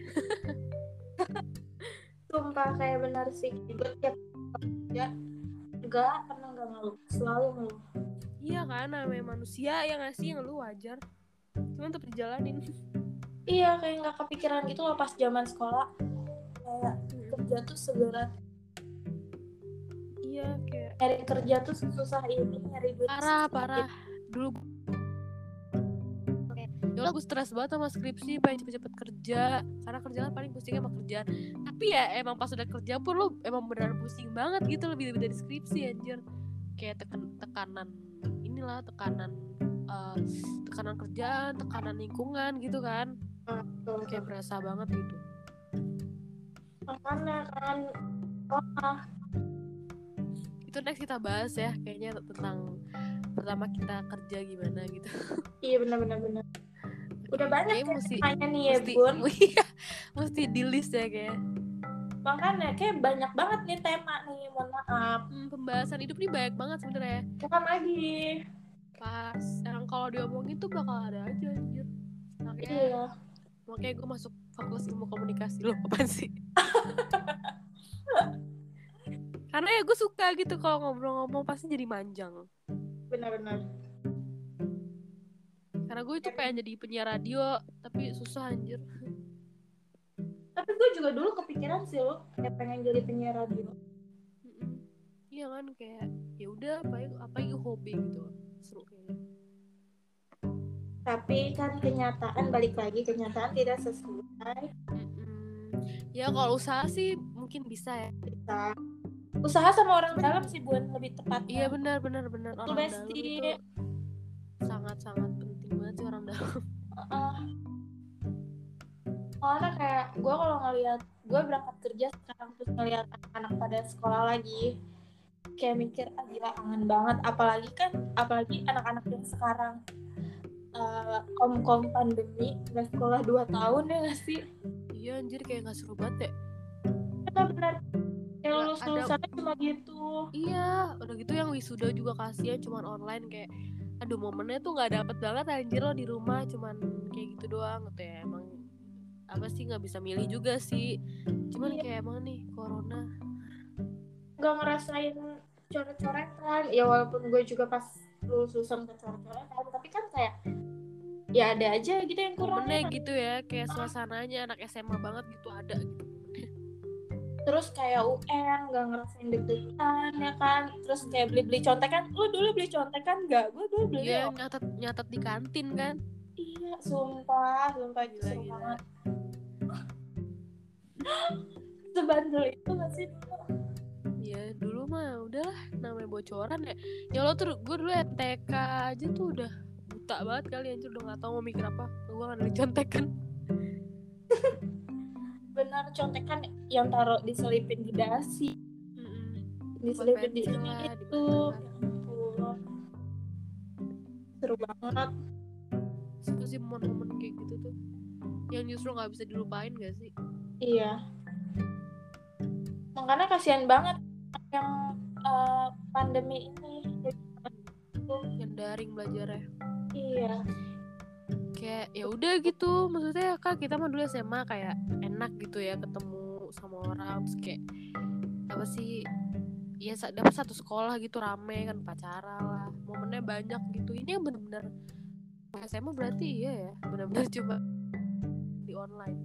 Speaker 2: sumpah kayak benar sih gue tiap ya enggak pernah enggak ngeluh selalu ngeluh
Speaker 1: iya kan namanya manusia yang ngasih yang lu wajar cuman tetap dijalanin
Speaker 2: iya kayak nggak kepikiran gitu loh pas zaman sekolah kayak kerja tuh segera
Speaker 1: iya kayak
Speaker 2: nyari kerja tuh susah ini nyari duit
Speaker 1: parah
Speaker 2: susah
Speaker 1: parah dulu Ya Allah, gue stres banget sama skripsi, pengen cepet-cepet kerja Karena kerjaan paling pusingnya sama kerjaan Tapi ya emang pas udah kerja pun lo emang beneran pusing banget gitu Lebih-lebih dari skripsi anjir Kayak teken- tekanan inilah, tekanan eh, tekanan kerjaan, tekanan lingkungan gitu kan
Speaker 2: gitu.
Speaker 1: Kayak berasa banget gitu
Speaker 2: makanya kan sekolah
Speaker 1: Itu next kita bahas ya, kayaknya tentang pertama kita kerja gimana gitu
Speaker 2: iya benar-benar benar udah banyak
Speaker 1: Kayaknya
Speaker 2: ya
Speaker 1: mesti,
Speaker 2: ceritanya nih ya
Speaker 1: mesti,
Speaker 2: bun
Speaker 1: iya, mesti di list ya kayak
Speaker 2: makanya kayak banyak banget nih tema nih mohon maaf
Speaker 1: Hmm, pembahasan hidup nih banyak banget sebenarnya.
Speaker 2: bukan lagi
Speaker 1: Pas yang kalau diomongin tuh bakal ada aja anjir. Makanya,
Speaker 2: iya
Speaker 1: makanya gue masuk fakultas ilmu komunikasi loh apaan sih? Karena ya gue suka gitu kalau ngobrol-ngobrol pasti jadi manjang.
Speaker 2: benar-benar
Speaker 1: Karena gue itu pengen jadi penyiar radio tapi susah anjir.
Speaker 2: tapi gue juga dulu kepikiran sih lo kayak pengen jadi penyiar radio
Speaker 1: Mm-mm. Iya kan kayak ya udah apa apa itu hobi gitu. Seru kayaknya.
Speaker 2: tapi kan kenyataan balik lagi kenyataan tidak sesuai
Speaker 1: Mm-mm. Ya kalau usaha sih mungkin bisa ya.
Speaker 2: kita usaha sama orang dalam sih buat lebih tepat
Speaker 1: Iya benar benar benar orang dalam
Speaker 2: Besti.
Speaker 1: itu sangat sangat penting banget sih orang dalam.
Speaker 2: Heeh. soalnya kayak gue kalau ngelihat gue berangkat kerja sekarang terus ngelihat anak pada sekolah lagi kayak mikir ah gila kangen banget apalagi kan apalagi anak-anak yang sekarang eh, kom-kom pandemi nggak sekolah 2 tahun ya nggak sih
Speaker 1: Iya anjir kayak nggak seru banget ya.
Speaker 2: benar-benar Iya, kayak
Speaker 1: Nggak
Speaker 2: lulus lulusannya cuma gitu
Speaker 1: Iya udah gitu yang wisuda juga kasihan cuman online kayak aduh momennya tuh nggak dapet banget anjir lo di rumah cuman kayak gitu doang gitu ya emang apa sih nggak bisa milih juga sih cuman
Speaker 2: Iya.
Speaker 1: kayak emang nih corona
Speaker 2: nggak ngerasain coret-coretan ya walaupun gue juga pas lulus lulusan ke coret-coretan tapi kan kayak ya ada aja gitu yang kurang
Speaker 1: momennya gitu ya kayak suasananya anak SMA banget gitu ada gitu
Speaker 2: terus kayak UN nggak ngerasain deg-degan ya kan terus kayak beli-beli contekan lu dulu beli contekan nggak gue dulu beli
Speaker 1: Iya nyatet nyatet di kantin kan
Speaker 2: iya sumpah sumpah
Speaker 1: Gila,
Speaker 2: gila,
Speaker 1: gila.
Speaker 2: banget sebandel itu nggak sih dulu
Speaker 1: Ya dulu mah udahlah namanya bocoran ya. Ya lo tuh gue dulu TK aja tuh udah buta banget kali anjir udah gak tau mau mikir apa. Gue gak ada contekan.
Speaker 2: benar contekan yang taruh diselipin di dasi diselipin di
Speaker 1: pensil
Speaker 2: ini
Speaker 1: lah, di
Speaker 2: itu
Speaker 1: mana-mana.
Speaker 2: Ya ampun. seru banget
Speaker 1: Itu sih momen-momen kayak gitu tuh. Yang justru gak bisa dilupain gak sih?
Speaker 2: Iya. Makanya kasihan banget yang eh, pandemi ini.
Speaker 1: Yang daring belajarnya.
Speaker 2: Iya.
Speaker 1: Kayak ya udah gitu. Maksudnya kak kita mah dulu SMA kayak enak gitu ya ketemu sama orang. Terus kayak apa sih ya sa- dapat satu sekolah gitu rame kan pacaran lah momennya banyak gitu ini yang bener-bener SMA berarti iya ya bener-bener cuma di online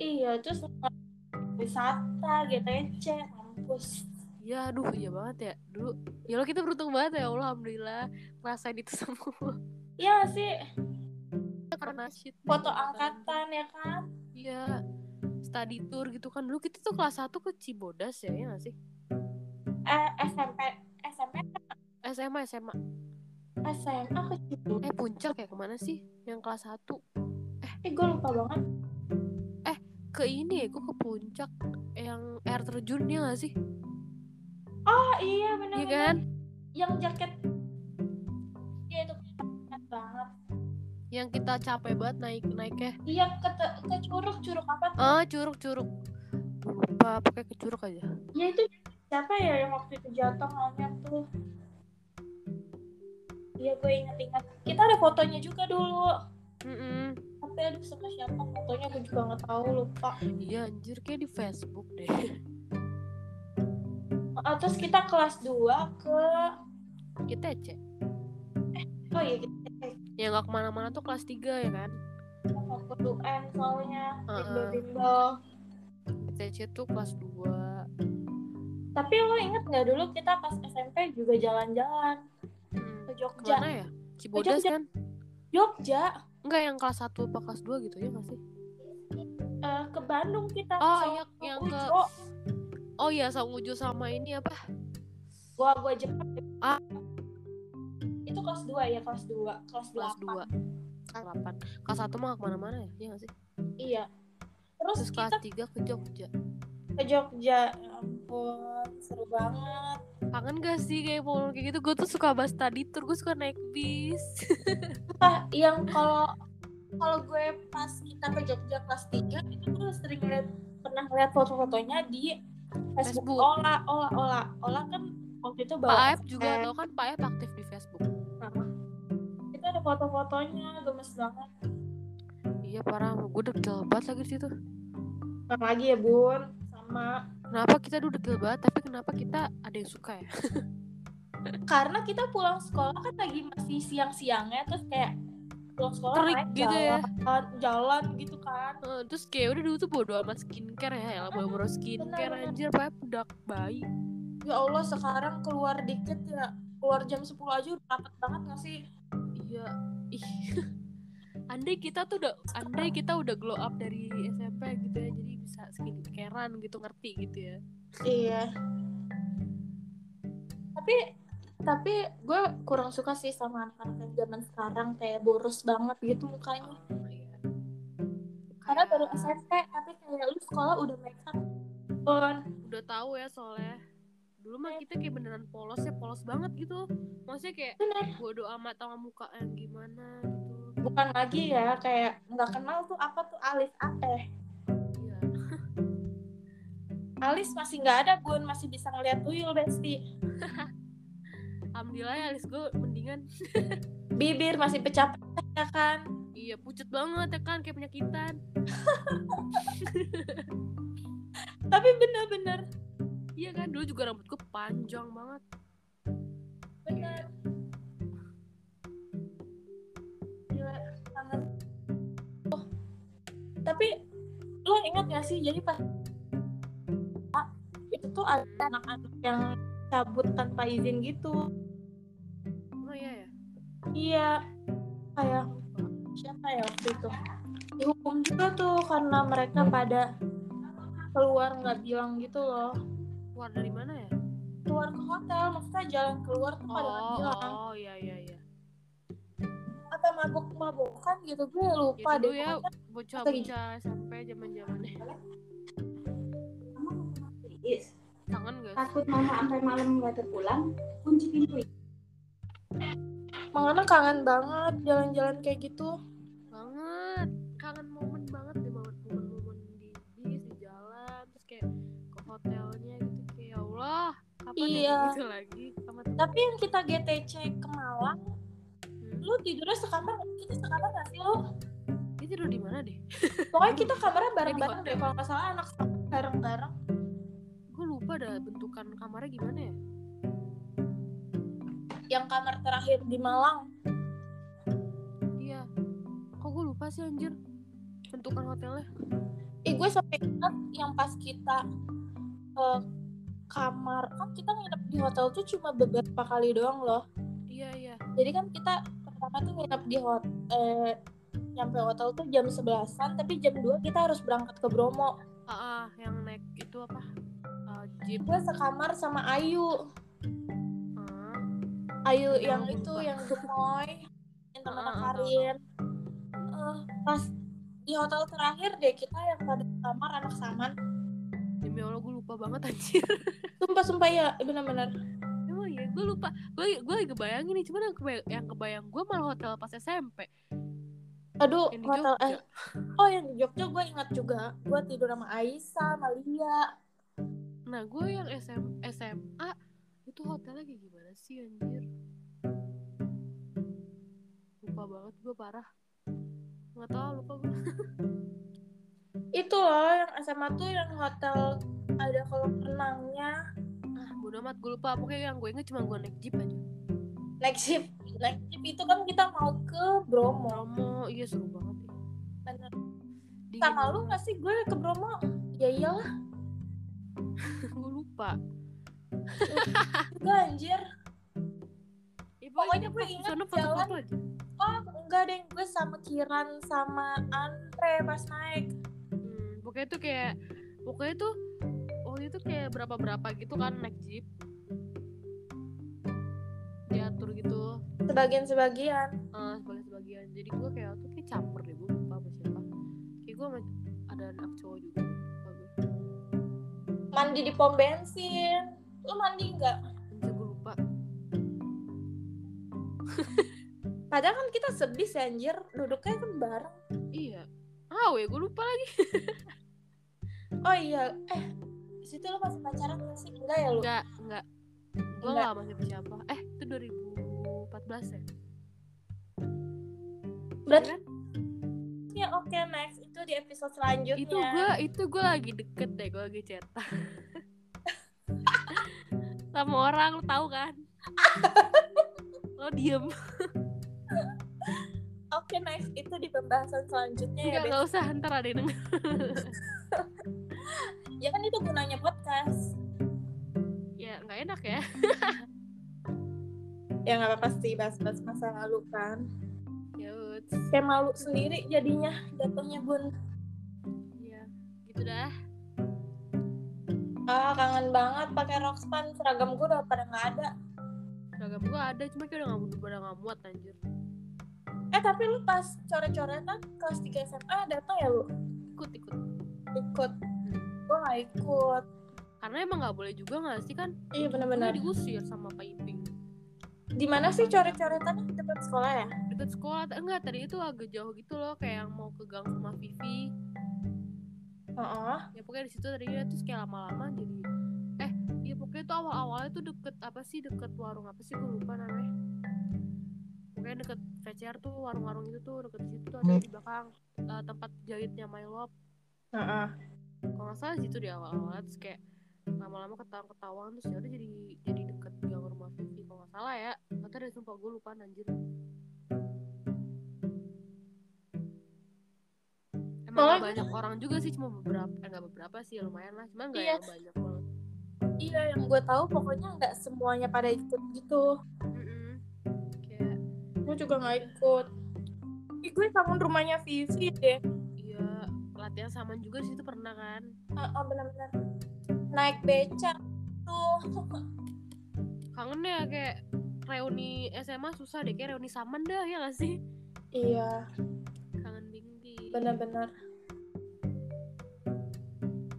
Speaker 2: Iya, terus wisata, GTC, kampus.
Speaker 1: ya aduh iya banget ya dulu ya lo kita beruntung banget ya Allah alhamdulillah ngerasain itu semua
Speaker 2: Iya nggak sih,
Speaker 1: karena shit
Speaker 2: foto angkatan ya kan.
Speaker 1: iya study tour gitu kan dulu kita tuh kelas 1 ke Cibodas ya ya gak sih
Speaker 2: Eh, SMP, SMP,
Speaker 1: SMA SMA
Speaker 2: SMA ke situ.
Speaker 1: eh puncak ya kemana sih yang kelas 1
Speaker 2: Eh, gue lupa banget.
Speaker 1: ke ini ya gue ke puncak yang air terjun ya gak sih
Speaker 2: Oh iya, benar
Speaker 1: iya kan
Speaker 2: Yang jaket. Iya itu keren banget.
Speaker 1: yang kita capek banget naik naiknya
Speaker 2: Iya ke, ke curug, curug apa?
Speaker 1: ah curug curug Gua lupa pakai ke curug aja
Speaker 2: Ya itu siapa ya yang waktu itu jatuh monyet tuh? Iya gue inget-inget. Kita ada fotonya juga dulu.
Speaker 1: Mm-mm.
Speaker 2: Tapi aduh sama siapa fotonya gue juga nggak tahu lupa.
Speaker 1: iya anjir kayak di Facebook deh
Speaker 2: Ah, terus kita kelas 2 ke
Speaker 1: kita cek
Speaker 2: oh iya kita
Speaker 1: yang nggak kemana-mana tuh kelas 3 ya kan
Speaker 2: mau ke UN soalnya
Speaker 1: Heeh.
Speaker 2: bimbel-bimbel.
Speaker 1: kita cek tuh kelas 2
Speaker 2: Tapi lo inget nggak dulu kita pas SMP juga jalan-jalan
Speaker 1: hmm.
Speaker 2: ke Jogja.
Speaker 1: kemana ya Cibodas
Speaker 2: Jogja.
Speaker 1: kan
Speaker 2: Jogja
Speaker 1: enggak yang kelas 1 apa kelas 2 gitu ya nggak sih
Speaker 2: eh, ke Bandung kita.
Speaker 1: Oh,
Speaker 2: sama
Speaker 1: iya, yang ke-
Speaker 2: Ujo.
Speaker 1: oh iya sama Ujo sama ini apa
Speaker 2: Gua gua Jepang.
Speaker 1: Ah.
Speaker 2: Itu kelas 2 ya kelas 2 kelas
Speaker 1: kelas
Speaker 2: 2
Speaker 1: 2 kelas 8 kelas 1 mah nggak kemana-mana ya iya nggak sih
Speaker 2: Iya. Terus,
Speaker 1: terus
Speaker 2: kita
Speaker 1: kelas 3 ke Jogja
Speaker 2: ke Jogja. Ya ampun, seru banget.
Speaker 1: kangen gak sih kayak mau kayak gitu gue tuh suka bahas tadi tour gue suka naik bis
Speaker 2: Apa Ah, yang kalau kalau gue pas kita ke Jogja kelas 3 itu gue sering liat pernah lihat foto-fotonya di Facebook.
Speaker 1: Facebook.
Speaker 2: Ola, Ola, Ola, Ola kan waktu itu
Speaker 1: Pak
Speaker 2: bawa
Speaker 1: Aep juga
Speaker 2: Eh.
Speaker 1: tau kan Pak Aep aktif di Facebook
Speaker 2: kita ada foto-fotonya gemes banget.
Speaker 1: Iya parah, gue degel banget lagi di situ.
Speaker 2: Ntar lagi ya bun, sama
Speaker 1: kenapa kita dulu detail banget tapi kenapa kita ada yang suka ya
Speaker 2: karena kita pulang sekolah kan lagi masih siang-siangnya terus kayak pulang sekolah
Speaker 1: Terik
Speaker 2: naik
Speaker 1: gitu ya.
Speaker 2: jalan, jalan gitu kan
Speaker 1: Eh, terus kayak udah dulu tuh bodo amat skincare ya elah bodo skincare
Speaker 2: Benar, benar.
Speaker 1: anjir pakai bedak bayi
Speaker 2: ya Allah sekarang keluar dikit ya keluar jam 10 aja udah rapet banget gak sih
Speaker 1: iya ih andai kita tuh udah andai kita udah glow up dari SMP gitu ya jadi bisa skincarean gitu ngerti gitu ya
Speaker 2: iya tapi tapi gue kurang suka sih sama anak-anak yang zaman sekarang kayak boros banget gitu
Speaker 1: Oh,
Speaker 2: mukanya
Speaker 1: iya.
Speaker 2: karena baru SMP tapi kayak lu sekolah udah make up pun
Speaker 1: udah tahu ya soalnya dulu
Speaker 2: Iya.
Speaker 1: mah kita kayak beneran polos ya polos banget gitu maksudnya kayak
Speaker 2: bener
Speaker 1: bodo amat sama muka yang gimana gitu
Speaker 2: bukan lagi ya kayak nggak kenal tuh apa tuh alis apa eh
Speaker 1: iya
Speaker 2: alis masih nggak ada bun masih bisa ngeliat tuyul besti
Speaker 1: alhamdulillah ya alis gue mendingan
Speaker 2: bibir masih pecah pecah ya kan
Speaker 1: iya pucet banget ya kan kayak penyakitan
Speaker 2: tapi bener-bener
Speaker 1: iya kan dulu juga rambut gue panjang banget
Speaker 2: bener Gila, kangen. Oh, tapi lo ingat gak sih jadi pas Ah, itu tuh ada anak-anak yang cabut tanpa izin gitu
Speaker 1: oh iya ya
Speaker 2: Iya, kayak siapa ya waktu itu? Dihukum juga tuh karena mereka pada keluar nggak bilang gitu loh.
Speaker 1: keluar dari mana ya
Speaker 2: Keluar ke hotel, maksudnya jalan keluar tuh pada nggak
Speaker 1: oh
Speaker 2: bilang.
Speaker 1: oh iya iya iya
Speaker 2: Apa mabuk-mabukan gitu gue
Speaker 1: itu
Speaker 2: lupa
Speaker 1: dulu
Speaker 2: deh.
Speaker 1: ya
Speaker 2: Pokoknya
Speaker 1: bocah-bocah sampai zaman zamannya kangen gak sih?
Speaker 4: Takut mama sampai malam nggak terpulang, kunci pintu.
Speaker 2: Makanya kangen banget jalan-jalan kayak gitu.
Speaker 1: banget kangen momen banget deh banget momen-momen di bis di jalan terus kayak ke hotelnya gitu kayak ya Allah kapan
Speaker 2: Iya.
Speaker 1: ya gitu lagi sama temen
Speaker 2: Tapi yang kita GTC ke Malang,
Speaker 1: Hmm.
Speaker 2: lu tidurnya sekamar, kita sekamar nggak sih lu?
Speaker 1: dia tidur di mana deh
Speaker 2: Pokoknya kita kamarnya bareng-bareng
Speaker 1: hotel.
Speaker 2: deh, kalau nggak salah anak sekolah bareng-bareng.
Speaker 1: gue lupa dah bentukan kamarnya gimana ya
Speaker 2: Yang kamar terakhir di Malang,
Speaker 1: iya kok gue lupa sih anjir bentukan hotelnya
Speaker 2: Eh gue sampai ingat yang pas kita ke kamar kan kita nginep di hotel tuh cuma beberapa kali doang loh.
Speaker 1: iya iya
Speaker 2: Jadi kan kita pertama tuh nginep di hotel eh, nyampe hotel tuh jam 11-an tapi jam 2 kita harus berangkat ke Bromo.
Speaker 1: ah ah, yang naik itu apa Ah, jeep
Speaker 2: Gue sekamar sama Ayu.
Speaker 1: Ah,
Speaker 2: Ayu
Speaker 1: Ya,
Speaker 2: yang
Speaker 1: lupa.
Speaker 2: itu yang gemoy yang teman
Speaker 1: Ah, ah, ah,
Speaker 2: Karin. Eh, pas di hotel terakhir deh kita yang pada kamar anak saman.
Speaker 1: demi Allah gue lupa banget anjir
Speaker 2: Sumpah-sumpah ya bener-bener
Speaker 1: Emang ya gue lupa gue gue kebayangin nih cuman yang kebayang, yang kebayang gue malah hotel pas SMP
Speaker 2: Aduh,
Speaker 1: Yang di
Speaker 2: hotel
Speaker 1: Jogja.
Speaker 2: eh. Oh, yang di Jogja gue ingat juga. Gue tidur sama Aisyah, sama Lia.
Speaker 1: Nah, gue yang SM, SMA itu hotelnya kayak gimana sih anjir? Lupa banget gue parah. Nggak tahu lupa gue.
Speaker 2: Itu loh yang SMA tuh yang hotel ada kolam renangnya.
Speaker 1: Ah, bodo amat gue lupa. Pokoknya yang gue inget cuma gue naik jeep aja.
Speaker 2: Naik jeep, naik jeep itu kan kita mau ke Bromo.
Speaker 1: Bromo, iya seru banget. ya.
Speaker 2: Bener.
Speaker 1: Dingin
Speaker 2: Sama lu
Speaker 1: banget.
Speaker 2: gak sih gue ke Bromo? Ya iyalah,
Speaker 1: gue lupa.
Speaker 2: gue anjir.
Speaker 1: Ya,
Speaker 2: Pokoknya gue
Speaker 1: pas di
Speaker 2: inget
Speaker 1: sana foto-foto aja.
Speaker 2: Oh, enggak deh, gue sama Kiran sama Andre pas naik.
Speaker 1: Hmm, pokoknya tuh kayak pokoknya tuh waktu itu kayak berapa-berapa gitu kan naik jeep. Diatur gitu.
Speaker 2: Sebagian-sebagian.
Speaker 1: Eh, sebagai sebagian jadi gue kayak waktu itu kayak campur deh gue lupa sama siapa kayak gue ada anak cowok juga lupa gue
Speaker 2: Mandi di pom bensin. Lu mandi nggak?
Speaker 1: anjir gue lupa
Speaker 2: Padahal kan kita sebis ya, anjir. Duduknya kan bareng.
Speaker 1: iya ah ya gue lupa lagi
Speaker 2: Oh iya, eh di situ lo masih pacaran nggak sih? Enggak ya lo?
Speaker 1: enggak enggak gue
Speaker 2: Enggak.
Speaker 1: nggak sama siapa siapa eh itu 2014 ya
Speaker 2: Berarti
Speaker 1: kan? iya.
Speaker 2: ya oke next itu di episode selanjutnya.
Speaker 1: itu gue itu gue lagi deket deh gue lagi cetak sama orang, lo tahu kan? lo diem.
Speaker 2: Oke, nice. Itu di pembahasan selanjutnya ya,
Speaker 1: Enggak,
Speaker 2: Beb.
Speaker 1: enggak usah ntar ada yang denger.
Speaker 2: Ya kan itu gunanya podcast.
Speaker 1: Ya, enggak enak ya.
Speaker 2: Ya nggak apa-apa sih, bahas-bahas masa lalu kan.
Speaker 1: Ya, uts.
Speaker 2: Kayak malu sendiri jadinya jatuhnya, Bun.
Speaker 1: ya gitu dah.
Speaker 2: Ah, kangen banget pakai Roxpan. Seragam gue udah pada nggak ada.
Speaker 1: Seragam gua ada, cuma kayak udah nggak udah pada nggak muat anjir.
Speaker 2: Eh, tapi lu pas coret-coretan kelas 3 SMA datang ya lu?
Speaker 1: Ikut ikut.
Speaker 2: Ikut. Gue nggak ikut.
Speaker 1: Karena emang nggak boleh juga nggak sih kan?
Speaker 2: Iya,
Speaker 1: Benar.
Speaker 2: bener-bener.
Speaker 1: diusir sama Pak Iping.
Speaker 2: Di mana sih coret-coretan dekat sekolah ya?
Speaker 1: Deket sekolah enggak tadi itu agak jauh gitu loh kayak yang mau ke gang rumah Vivi.
Speaker 2: Heeh.
Speaker 1: ya pokoknya di situ tadinya terus kayak lama-lama jadi eh ya pokoknya tuh awal-awalnya tuh deket apa sih deket warung apa sih gue lupa namanya pokoknya deket VCR tuh warung-warung itu tuh deket situ tuh ada di belakang eh, tempat jahitnya My Love
Speaker 2: Heeh.
Speaker 1: kalau nggak salah di situ di awal-awal terus kayak lama-lama ketahuan-ketahuan terus ya udah jadi jadi deket gang rumah Vivi kalau nggak salah ya atau ada sumpah gue lupa anjir Emang nggak
Speaker 2: Soalnya-
Speaker 1: banyak orang juga sih cuma beberapa eh, nggak beberapa sih lumayan lah cuma nggak
Speaker 2: Iya.
Speaker 1: yang banyak banget
Speaker 2: Iya, yang gue tahu pokoknya nggak semuanya pada ikut gitu.
Speaker 1: Mm-mm. kayak
Speaker 2: Gue juga nggak ikut. Ih, gue bangun rumahnya Vivi deh.
Speaker 1: iya pelatihan saman juga di situ pernah kan
Speaker 2: Oh, oh benar-benar. Naik becak tuh.
Speaker 1: kangen ya kayak reuni SMA susah deh kayak reuni saman dah ya gak sih
Speaker 2: Iya,
Speaker 1: kangen bingung
Speaker 2: benar-benar.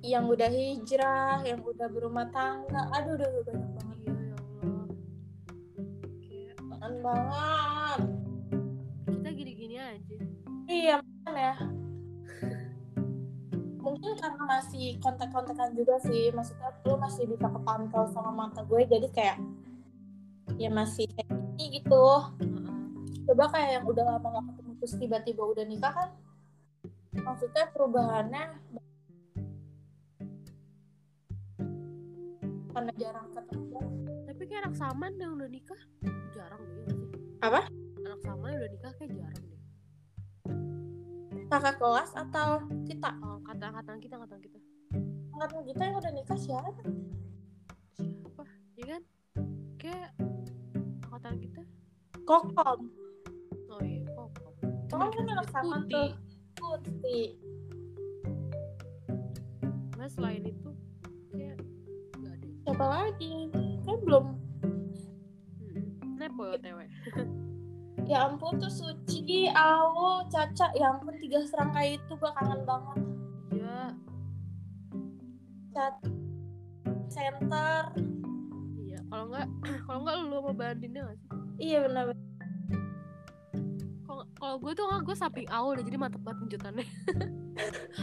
Speaker 2: Yang udah hijrah, yang udah berumah tangga. Aduh, udah banyak banget.
Speaker 1: iya ya Allah kayak
Speaker 2: Kangen banget.
Speaker 1: kita gini-gini aja
Speaker 2: Iya, makanya ya. Mungkin karena masih kontak-kontakan juga sih, maksudnya lu masih bisa kepantau sama mata gue, jadi kayak ya masih kayak gini gitu.
Speaker 1: Heeh.
Speaker 2: Coba kayak yang udah lama gak ketemu terus tiba-tiba udah nikah kan, maksudnya perubahannya karena jarang ketemu.
Speaker 1: tapi kayak anak saman yang udah nikah jarang deh ya nggak sih?
Speaker 2: Apa?
Speaker 1: anak saman yang udah nikah kayak jarang deh
Speaker 2: Kakak kelas atau kita?
Speaker 1: oh, kata angkatan kita angkatan kita
Speaker 2: Angkatan kita yang udah nikah siapa?
Speaker 1: siapa ya kan kayak angkatan kita
Speaker 2: Kokom.
Speaker 1: oh iya kok kok.
Speaker 2: Kokom kan anak sama
Speaker 1: putih
Speaker 2: tuh. Putih.
Speaker 1: Nah selain itu kayak nggak ada.
Speaker 2: siapa lagi kan belum
Speaker 1: Mm-mm. Nepo ya OTW.
Speaker 2: ya ampun tuh Suci Awo Caca ya ampun tiga serangkai itu gua kangen banget
Speaker 1: Iya,
Speaker 2: Cat center
Speaker 1: iya. Kalau nggak, kalau nggak lu sama Bandinnya nggak sih?
Speaker 2: iya benar
Speaker 1: Kalau kalau gue tuh nggak, gue samping awal deh, jadi mantep banget penjutannya.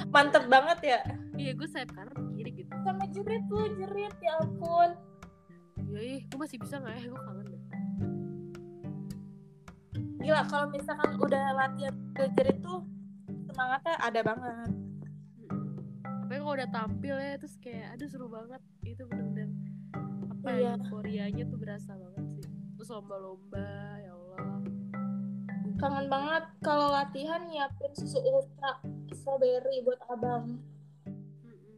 Speaker 2: mantep banget ya
Speaker 1: iya, gue sayap kanan ke kiri gitu.
Speaker 2: sama jerit tuh jerit ya ampun
Speaker 1: Iya, ih, gue masih bisa nggak ya? Gue kangen deh.
Speaker 2: gila kalau misalkan udah latihan ke jerit tuh semangatnya ada banget
Speaker 1: Mm-mm. Apalagi kalau udah tampil ya, terus kayak aduh seru banget. Itu bener-bener apa ya?
Speaker 2: Iya.
Speaker 1: Koreanya tuh berasa banget sih. Terus lomba-lomba, ya Allah.
Speaker 2: kangen banget kalau latihan nyiapin susu ultra strawberry buat abang
Speaker 1: Mm-mm.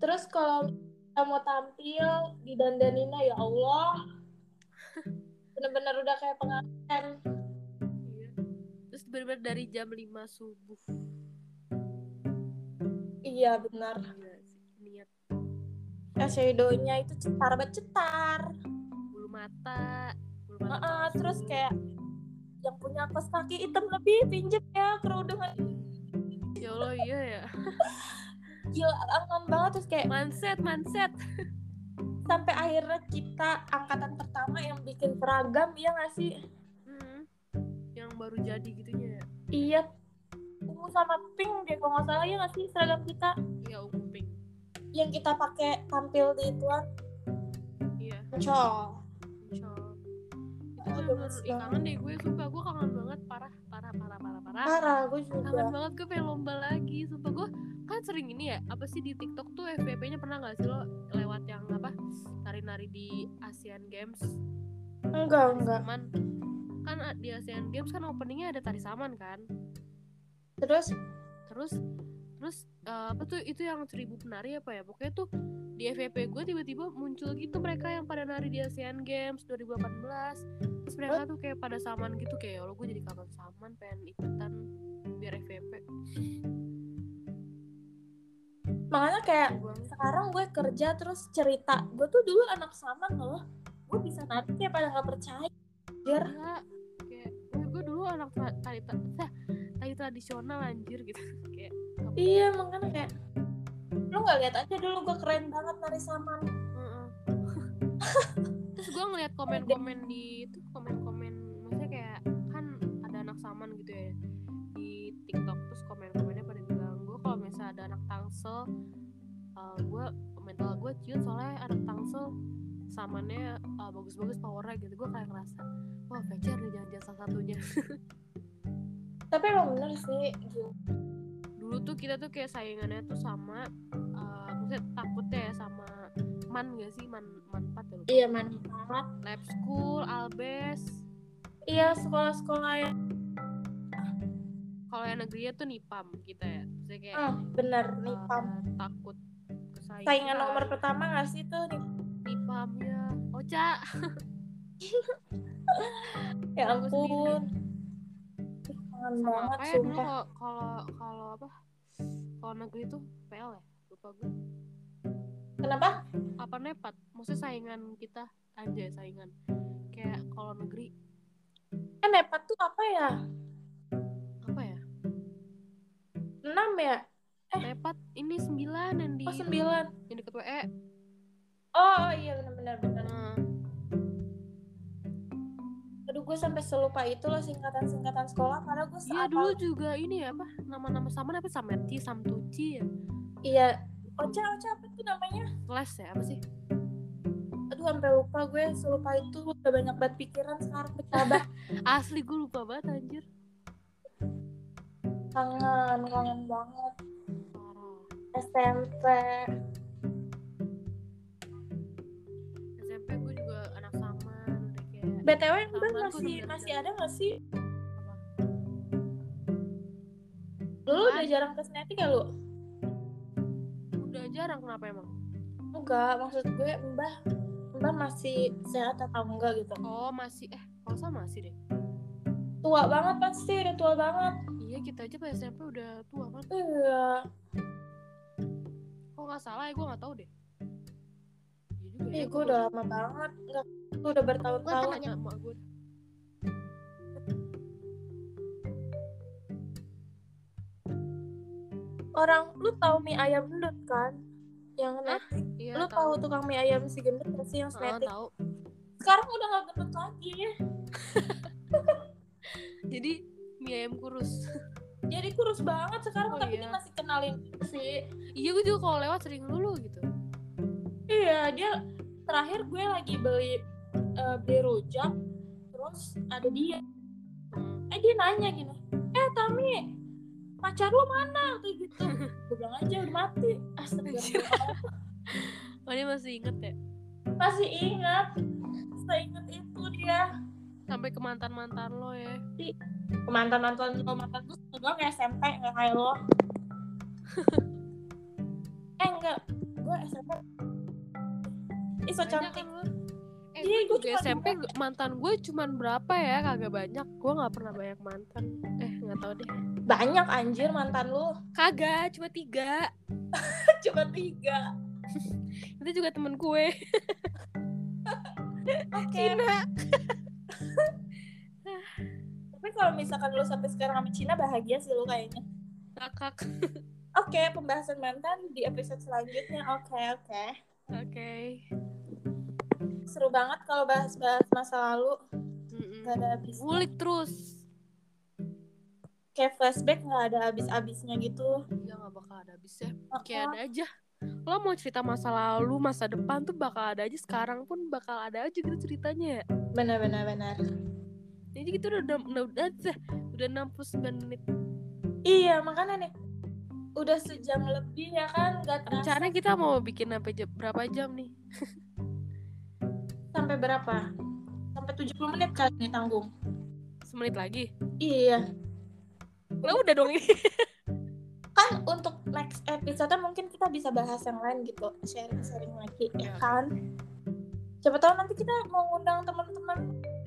Speaker 2: terus kalau kita mau tampil di dandaninnya ya Allah bener-bener udah kayak pengantin
Speaker 1: Iya. Terus bener-bener dari jam 5 subuh.
Speaker 2: iya benar
Speaker 1: Gila sih, niat
Speaker 2: eyeshadownya itu cetar banget cetar
Speaker 1: bulu mata bulu mata
Speaker 2: Heeh,
Speaker 1: palsu.
Speaker 2: terus kayak yang punya kos kaki hitam lebih pinjem ya kerudungan
Speaker 1: ya allah iya ya
Speaker 2: gila kangen banget terus kayak
Speaker 1: manset manset
Speaker 2: sampai akhirnya kita angkatan pertama yang bikin seragam ya nggak sih
Speaker 1: Hmm. yang baru jadi gitunya ya
Speaker 2: iya ungu sama pink deh kalau nggak salah ya nggak sih seragam kita
Speaker 1: iya ungu pink
Speaker 2: yang kita pakai tampil di tuan
Speaker 1: iya
Speaker 2: Col.
Speaker 1: cok itu
Speaker 2: Aduh,
Speaker 1: bener
Speaker 2: mas
Speaker 1: ih, kangen deh gue sumpah gue kangen banget parah parah parah parah parah
Speaker 2: parah gue
Speaker 1: kangen
Speaker 2: juga
Speaker 1: banget gue pengen lomba lagi sumpah gue kan sering ini ya apa sih di TikTok tuh FVP-nya pernah nggak sih lo lewat yang apa nari-nari di Asian Games tari
Speaker 2: Enggak, enggak.
Speaker 1: saman kan a- di Asian Games kan openingnya ada tari saman kan
Speaker 2: Terus
Speaker 1: terus terus eh, apa tuh itu yang seribu penari apa ya pokoknya tuh di FVP gue tiba-tiba muncul gitu mereka yang pada nari di Asian Games 2018 terus mereka tuh kayak pada saman gitu kayak lo gue jadi kangen saman pengen ikutan biar FVP
Speaker 2: makanya kayak
Speaker 1: Gua-
Speaker 2: sekarang gue kerja terus cerita gue tuh dulu anak saman loh gue bisa nanti kayak pada nggak percaya biar
Speaker 1: Iya, kayak gue dulu anak tra- tari, tra- eh, tari tradisional anjir gitu kayak
Speaker 2: iya makanya kayak lu nggak lihat aja dulu gue keren banget nari saman
Speaker 1: "Heeh." terus gue ngeliat komen-komen di itu komen-komen maksudnya kayak kan ada anak saman gitu ya di TikTok terus komen-komennya pada bilang gue kalau misalnya ada anak tangsel eh, gue mental gue ciut soalnya anak tangsel samannya eh, bagus-bagus powernya gitu gue kayak ngerasa wah pacar nih jangan-jangan salah satunya
Speaker 2: tapi emang bener sih gitu.
Speaker 1: dulu tuh kita tuh kayak saingannya tuh sama eh, maksudnya takutnya ya sama man gak sih man man empat ya lupa.
Speaker 2: iya manfaat
Speaker 1: lab school albes
Speaker 2: iya sekolah-sekolah yang
Speaker 1: kalau yang negerinya tuh nipam kita ya maksudnya kayak
Speaker 2: Hmm, bener nih
Speaker 1: eh,
Speaker 2: pam
Speaker 1: takut kesaingan
Speaker 2: saingan nomor pertama nggak sih tuh nih
Speaker 1: nipam ya oca
Speaker 2: ya
Speaker 1: Aku sendiri.
Speaker 2: ampun kangen banget
Speaker 1: apa ya dulu
Speaker 2: sumpah
Speaker 1: kalau- kalau kalau apa kalau negeri tuh pl ya lupa gue
Speaker 2: kenapa
Speaker 1: apa nepat maksudnya saingan kita aja saingan kayak kalau negeri
Speaker 2: kan nepat tuh apa ya
Speaker 1: apa ya
Speaker 2: enam ya
Speaker 1: nepat ini sembilan yang di
Speaker 2: oh sembilan
Speaker 1: yang deket E. WE
Speaker 2: oh oh, iya benar-benar benar
Speaker 1: Nah,
Speaker 2: aduh gue sampai selupa itu loh singkatan-singkatan sekolah karena gue
Speaker 1: iya
Speaker 2: saat
Speaker 1: dulu juga ini ya apa nama-nama sama apa Samerti, Samtuci ya.
Speaker 2: iya oca oca apa tuh namanya
Speaker 1: Les ya apa sih?
Speaker 2: aduh sampai lupa gue selupa itu udah banyak banget pikiran sekarang bertambah
Speaker 1: Asli gue lupa banget anjir.
Speaker 2: kangen kangen banget
Speaker 1: Parah.
Speaker 2: SMP
Speaker 1: SMP gue juga anak saman udah kayak
Speaker 2: btw gue
Speaker 1: Kangen,
Speaker 2: masih
Speaker 1: gue udah
Speaker 2: masih
Speaker 1: jarang.
Speaker 2: ada gak sih lu udah jarang ke Senetik ya lu
Speaker 1: udah jarang kenapa emang?
Speaker 2: enggak maksud gue mbah mbah masih sehat atau enggak gitu
Speaker 1: Oh, masih eh kalau sama masih deh.
Speaker 2: tua banget pasti udah tua banget
Speaker 1: Iya, kita aja pas SMP udah tua kan.
Speaker 2: iya
Speaker 1: Kok nggak salah ya gue nggak tahu deh. Iya juga
Speaker 2: Ih, gue udah lama banget enggak gue udah
Speaker 1: tahu
Speaker 2: bertahun-tahun
Speaker 1: sama gue.
Speaker 2: orang lu tahu mie ayam gendut kan yang netik
Speaker 1: Iya,
Speaker 2: lu tahu tukang mie ayam si gendut gak sih yang
Speaker 1: Ah,
Speaker 2: snetik
Speaker 1: tahu.
Speaker 2: sekarang udah gak gendut lagi
Speaker 1: Jadi mie ayam kurus.
Speaker 2: jadi kurus banget sekarang
Speaker 1: Oh,
Speaker 2: tapi
Speaker 1: iya.
Speaker 2: dia masih kenalin sih
Speaker 1: iya, gue juga kalau lewat sering lulu gitu.
Speaker 2: iya dia terakhir gue lagi beli eh, beli rujak terus ada dia
Speaker 1: Hmm.
Speaker 2: eh dia nanya gini eh Tami pacar lu mana kayak gitu gue bilang aja udah mati astagfirullah
Speaker 1: Oh dia masih inget ya
Speaker 2: masih ingat seingat itu dia
Speaker 1: Sampai ke mantan-mantan lo ya
Speaker 2: mantan mantan lo mantan gue sebelum SMP nggak kayak lo eh enggak gue SMP Ih, so
Speaker 1: Banyak
Speaker 2: cantik.
Speaker 1: kan lo? Eh gue
Speaker 2: Iya, gua
Speaker 1: juga
Speaker 2: cuma
Speaker 1: SMP mantan gue cuman berapa ya Kagak banyak Gue gak pernah banyak mantan Eh gak tau deh
Speaker 2: Banyak anjir mantan lu.
Speaker 1: Kagak cuma tiga
Speaker 2: Cuma tiga.
Speaker 1: Itu juga temen gue
Speaker 2: Oke.
Speaker 1: Cina
Speaker 2: Tapi kalau misalkan lu sampai sekarang sama Cina bahagia sih lu kayaknya.
Speaker 1: Kakak
Speaker 2: Oke, pembahasan mantan di episode selanjutnya. Oke, oke.
Speaker 1: Oke
Speaker 2: Seru banget kalau bahas-bahas masa lalu.
Speaker 1: Mm-mm.
Speaker 2: Gak ada habis.
Speaker 1: Ngulik terus
Speaker 2: Kayak flashback nggak ada habis-habisnya gitu.
Speaker 1: Iya gak bakal ada habisnya Kayak ada aja Lo mau cerita masa lalu Masa depan tuh bakal ada aja Sekarang pun bakal ada aja gitu ceritanya ya
Speaker 2: Benar-benar benar.
Speaker 1: Jadi kita udah udah udah, udah 69 menit.
Speaker 2: Iya, makanya nih. udah sejam lebih ya kan nggak terasa
Speaker 1: Rencana kita mau bikin sampai jam- berapa jam nih?
Speaker 2: sampai berapa sampai 70 menit kali ini tanggung
Speaker 1: Semenit lagi.
Speaker 2: iya
Speaker 1: Lah udah dong ini.
Speaker 2: kan untuk next episode mungkin kita bisa bahas yang lain gitu sharing sharing lagi ya kan siapa tahu nanti kita mau ngundang teman-teman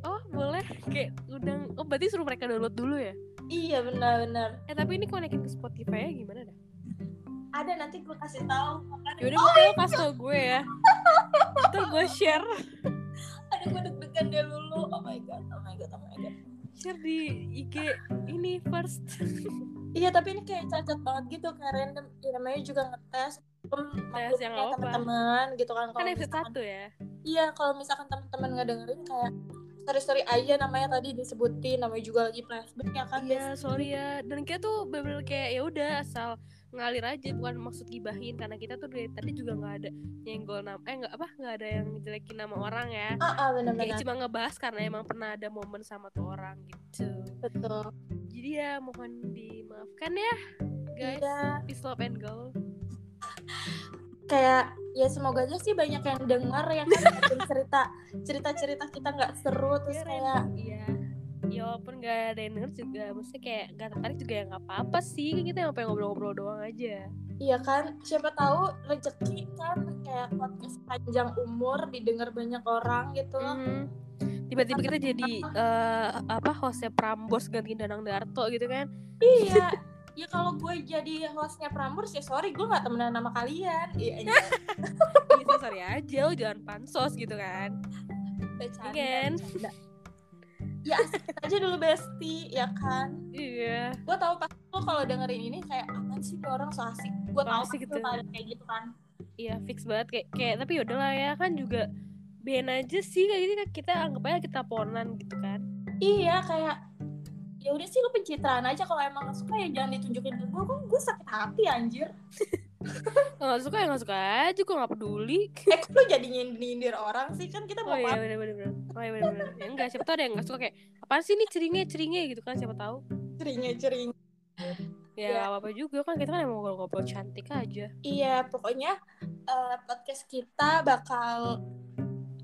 Speaker 1: Oh, boleh. Kayak udang. Oh, berarti suruh mereka download dulu ya.
Speaker 2: iya benar-benar
Speaker 1: Eh, tapi ini konekin ke Spotify ya gimana dah?
Speaker 2: ada nanti gue kasih tahu
Speaker 1: Yaudah, udah lo kasih tau gue ya. Itu gue share.
Speaker 2: ada gue deg-degan dia dulu oh my god oh my god oh my god
Speaker 1: Share di IG ini first.
Speaker 2: iya tapi ini kayak cacat banget gitu kayak random ya, namanya juga ngetes
Speaker 1: Ngetes yang
Speaker 2: Maklumnya
Speaker 1: apa?
Speaker 2: teman-teman gitu kan
Speaker 1: Kan
Speaker 2: kalau misalkan
Speaker 1: episode 1 ya.
Speaker 2: iya kalau misalkan teman-teman nggak dengerin kayak story-story aja namanya tadi disebutin namanya juga lagi flashback ya kan
Speaker 1: Iya, sorry ya. Dan kita tuh bener kayak ya udah asal ngalir aja bukan maksud gibahin karena kita tuh dari tadi juga nggak ada nyenggol nama eh nggak apa nggak ada yang jelekin nama orang ya
Speaker 2: ah, ah
Speaker 1: kayak
Speaker 2: benar-benar
Speaker 1: cuma ngebahas karena emang pernah ada momen sama tuh orang gitu
Speaker 2: betul
Speaker 1: jadi ya mohon dimaafkan ya guys
Speaker 2: Iya.
Speaker 1: peace love and go
Speaker 2: kayak ya semoga aja sih banyak yang dengar yang kan cerita cerita cerita kita nggak seru terus kayak
Speaker 1: iya ya walaupun gak ada yang denger juga maksudnya kayak gak tertarik juga ya gak apa-apa sih Kan kita yang pengen ngobrol-ngobrol doang aja
Speaker 2: Iya kan, siapa tahu rezeki kan kayak podcast panjang umur didengar banyak orang gitu.
Speaker 1: Mhm. tiba-tiba kita jadi eh, apa hostnya Prambors gantiin Danang Darto gitu kan
Speaker 2: Iya. Ya kalau gue jadi hostnya Prambors ya sorry gue nggak temenan sama kalian. Iya, iya.
Speaker 1: bisa Iya, sorry aja lo jangan pansos gitu kan Iya
Speaker 2: Bercanda,
Speaker 1: kan?
Speaker 2: bercanda. Ya asik aja dulu Besti, ya kan.
Speaker 1: iya
Speaker 2: Gue tahu pas lo kalau dengerin ini kayak apaan sih tuh orang so asik. Gue
Speaker 1: So
Speaker 2: tahu
Speaker 1: asik
Speaker 2: pasti lo
Speaker 1: gitu.
Speaker 2: pada kayak gitu kan.
Speaker 1: iya fix banget kayak kayak tapi yaudahlah ya kan juga ben aja sih kayak gitu kan kita anggap aja kita ponan gitu kan
Speaker 2: Iya kayak ya udah sih lo pencitraan aja kalau emang nggak suka ya jangan ditunjukin ke gue. Gue gue sakit hati anjir.
Speaker 1: nggak suka ya nggak suka aja gue nggak peduli
Speaker 2: Eh kok lu jadi nyindir orang sih kan kita
Speaker 1: oh
Speaker 2: mau
Speaker 1: iya bener bener bener oh iya bener bener ya, enggak siapa tau ada yang nggak suka kayak apaan sih ini ceringe ceringe gitu kan siapa tahu
Speaker 2: ceringe cering Iya.
Speaker 1: ya apa apa juga kan kita kan emang ngobrol-ngobrol cantik aja
Speaker 2: iya pokoknya eh, podcast kita bakal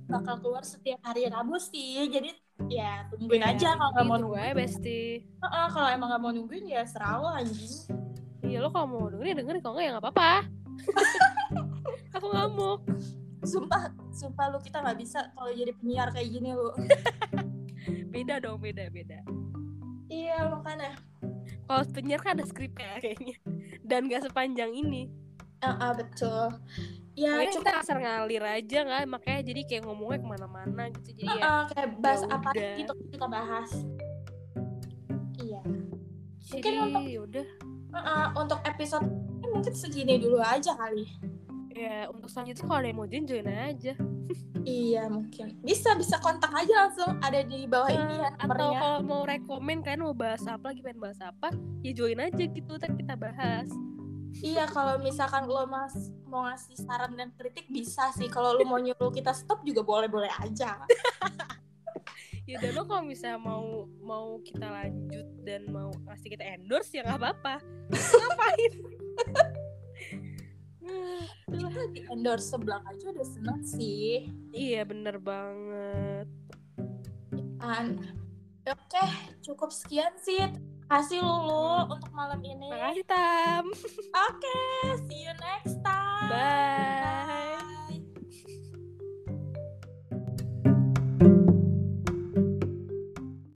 Speaker 2: bakal keluar setiap hari Rabu sih jadi ya tungguin
Speaker 1: Iya,
Speaker 2: aja kalau nggak mau
Speaker 1: gue
Speaker 2: nungguin
Speaker 1: besti
Speaker 2: Heeh, kalau emang nggak mau nungguin ya serah lo anjing
Speaker 1: iya lo kalau mau dengerin ya dengerin kalau nggak ya nggak apa-apa aku ngamuk
Speaker 2: sumpah sumpah lu kita nggak bisa kalau jadi penyiar kayak gini lu
Speaker 1: beda dong beda beda
Speaker 2: iya makanya
Speaker 1: kalau penyiar kan ada skripnya kayaknya dan gak sepanjang ini
Speaker 2: Heeh, betul ya
Speaker 1: Kayaknya
Speaker 2: cuma
Speaker 1: Nah, kita asal ngalir aja nggak makanya jadi kayak ngomongnya kemana-mana gitu jadi ya
Speaker 2: eh, kayak bahas
Speaker 1: Ya
Speaker 2: apa
Speaker 1: udah.
Speaker 2: gitu kita bahas iya
Speaker 1: jadi ya
Speaker 2: untuk-
Speaker 1: yaudah
Speaker 2: Heeh, untuk episode ini mungkin segini dulu aja kali
Speaker 1: ya untuk selanjutnya kalau ada yang mau join join aja
Speaker 2: Iya mungkin bisa bisa kontak aja langsung ada di bawah ini ya
Speaker 1: Eh, Ah, atau
Speaker 2: nomornya.
Speaker 1: kalau mau rekomen kalian mau bahas apa lagi pengen bahas apa ya join aja gitu ntar kita bahas
Speaker 2: Iya kalau misalkan lo mas mau ngasih saran dan kritik bisa sih kalau lo mau nyuruh kita stop juga boleh boleh aja.
Speaker 1: ya dan lo kalau misalnya mau mau kita lanjut dan mau ngasih kita endorse ya nggak apa-apa ngapain Hmm,
Speaker 2: Kita di endorse sebelah aja udah seneng sih.
Speaker 1: iya bener banget
Speaker 2: An. Oke cukup sekian sih. Terima kasih Lulu untuk malam ini.
Speaker 1: makasih tam
Speaker 2: Oke see you next time.
Speaker 1: Bye.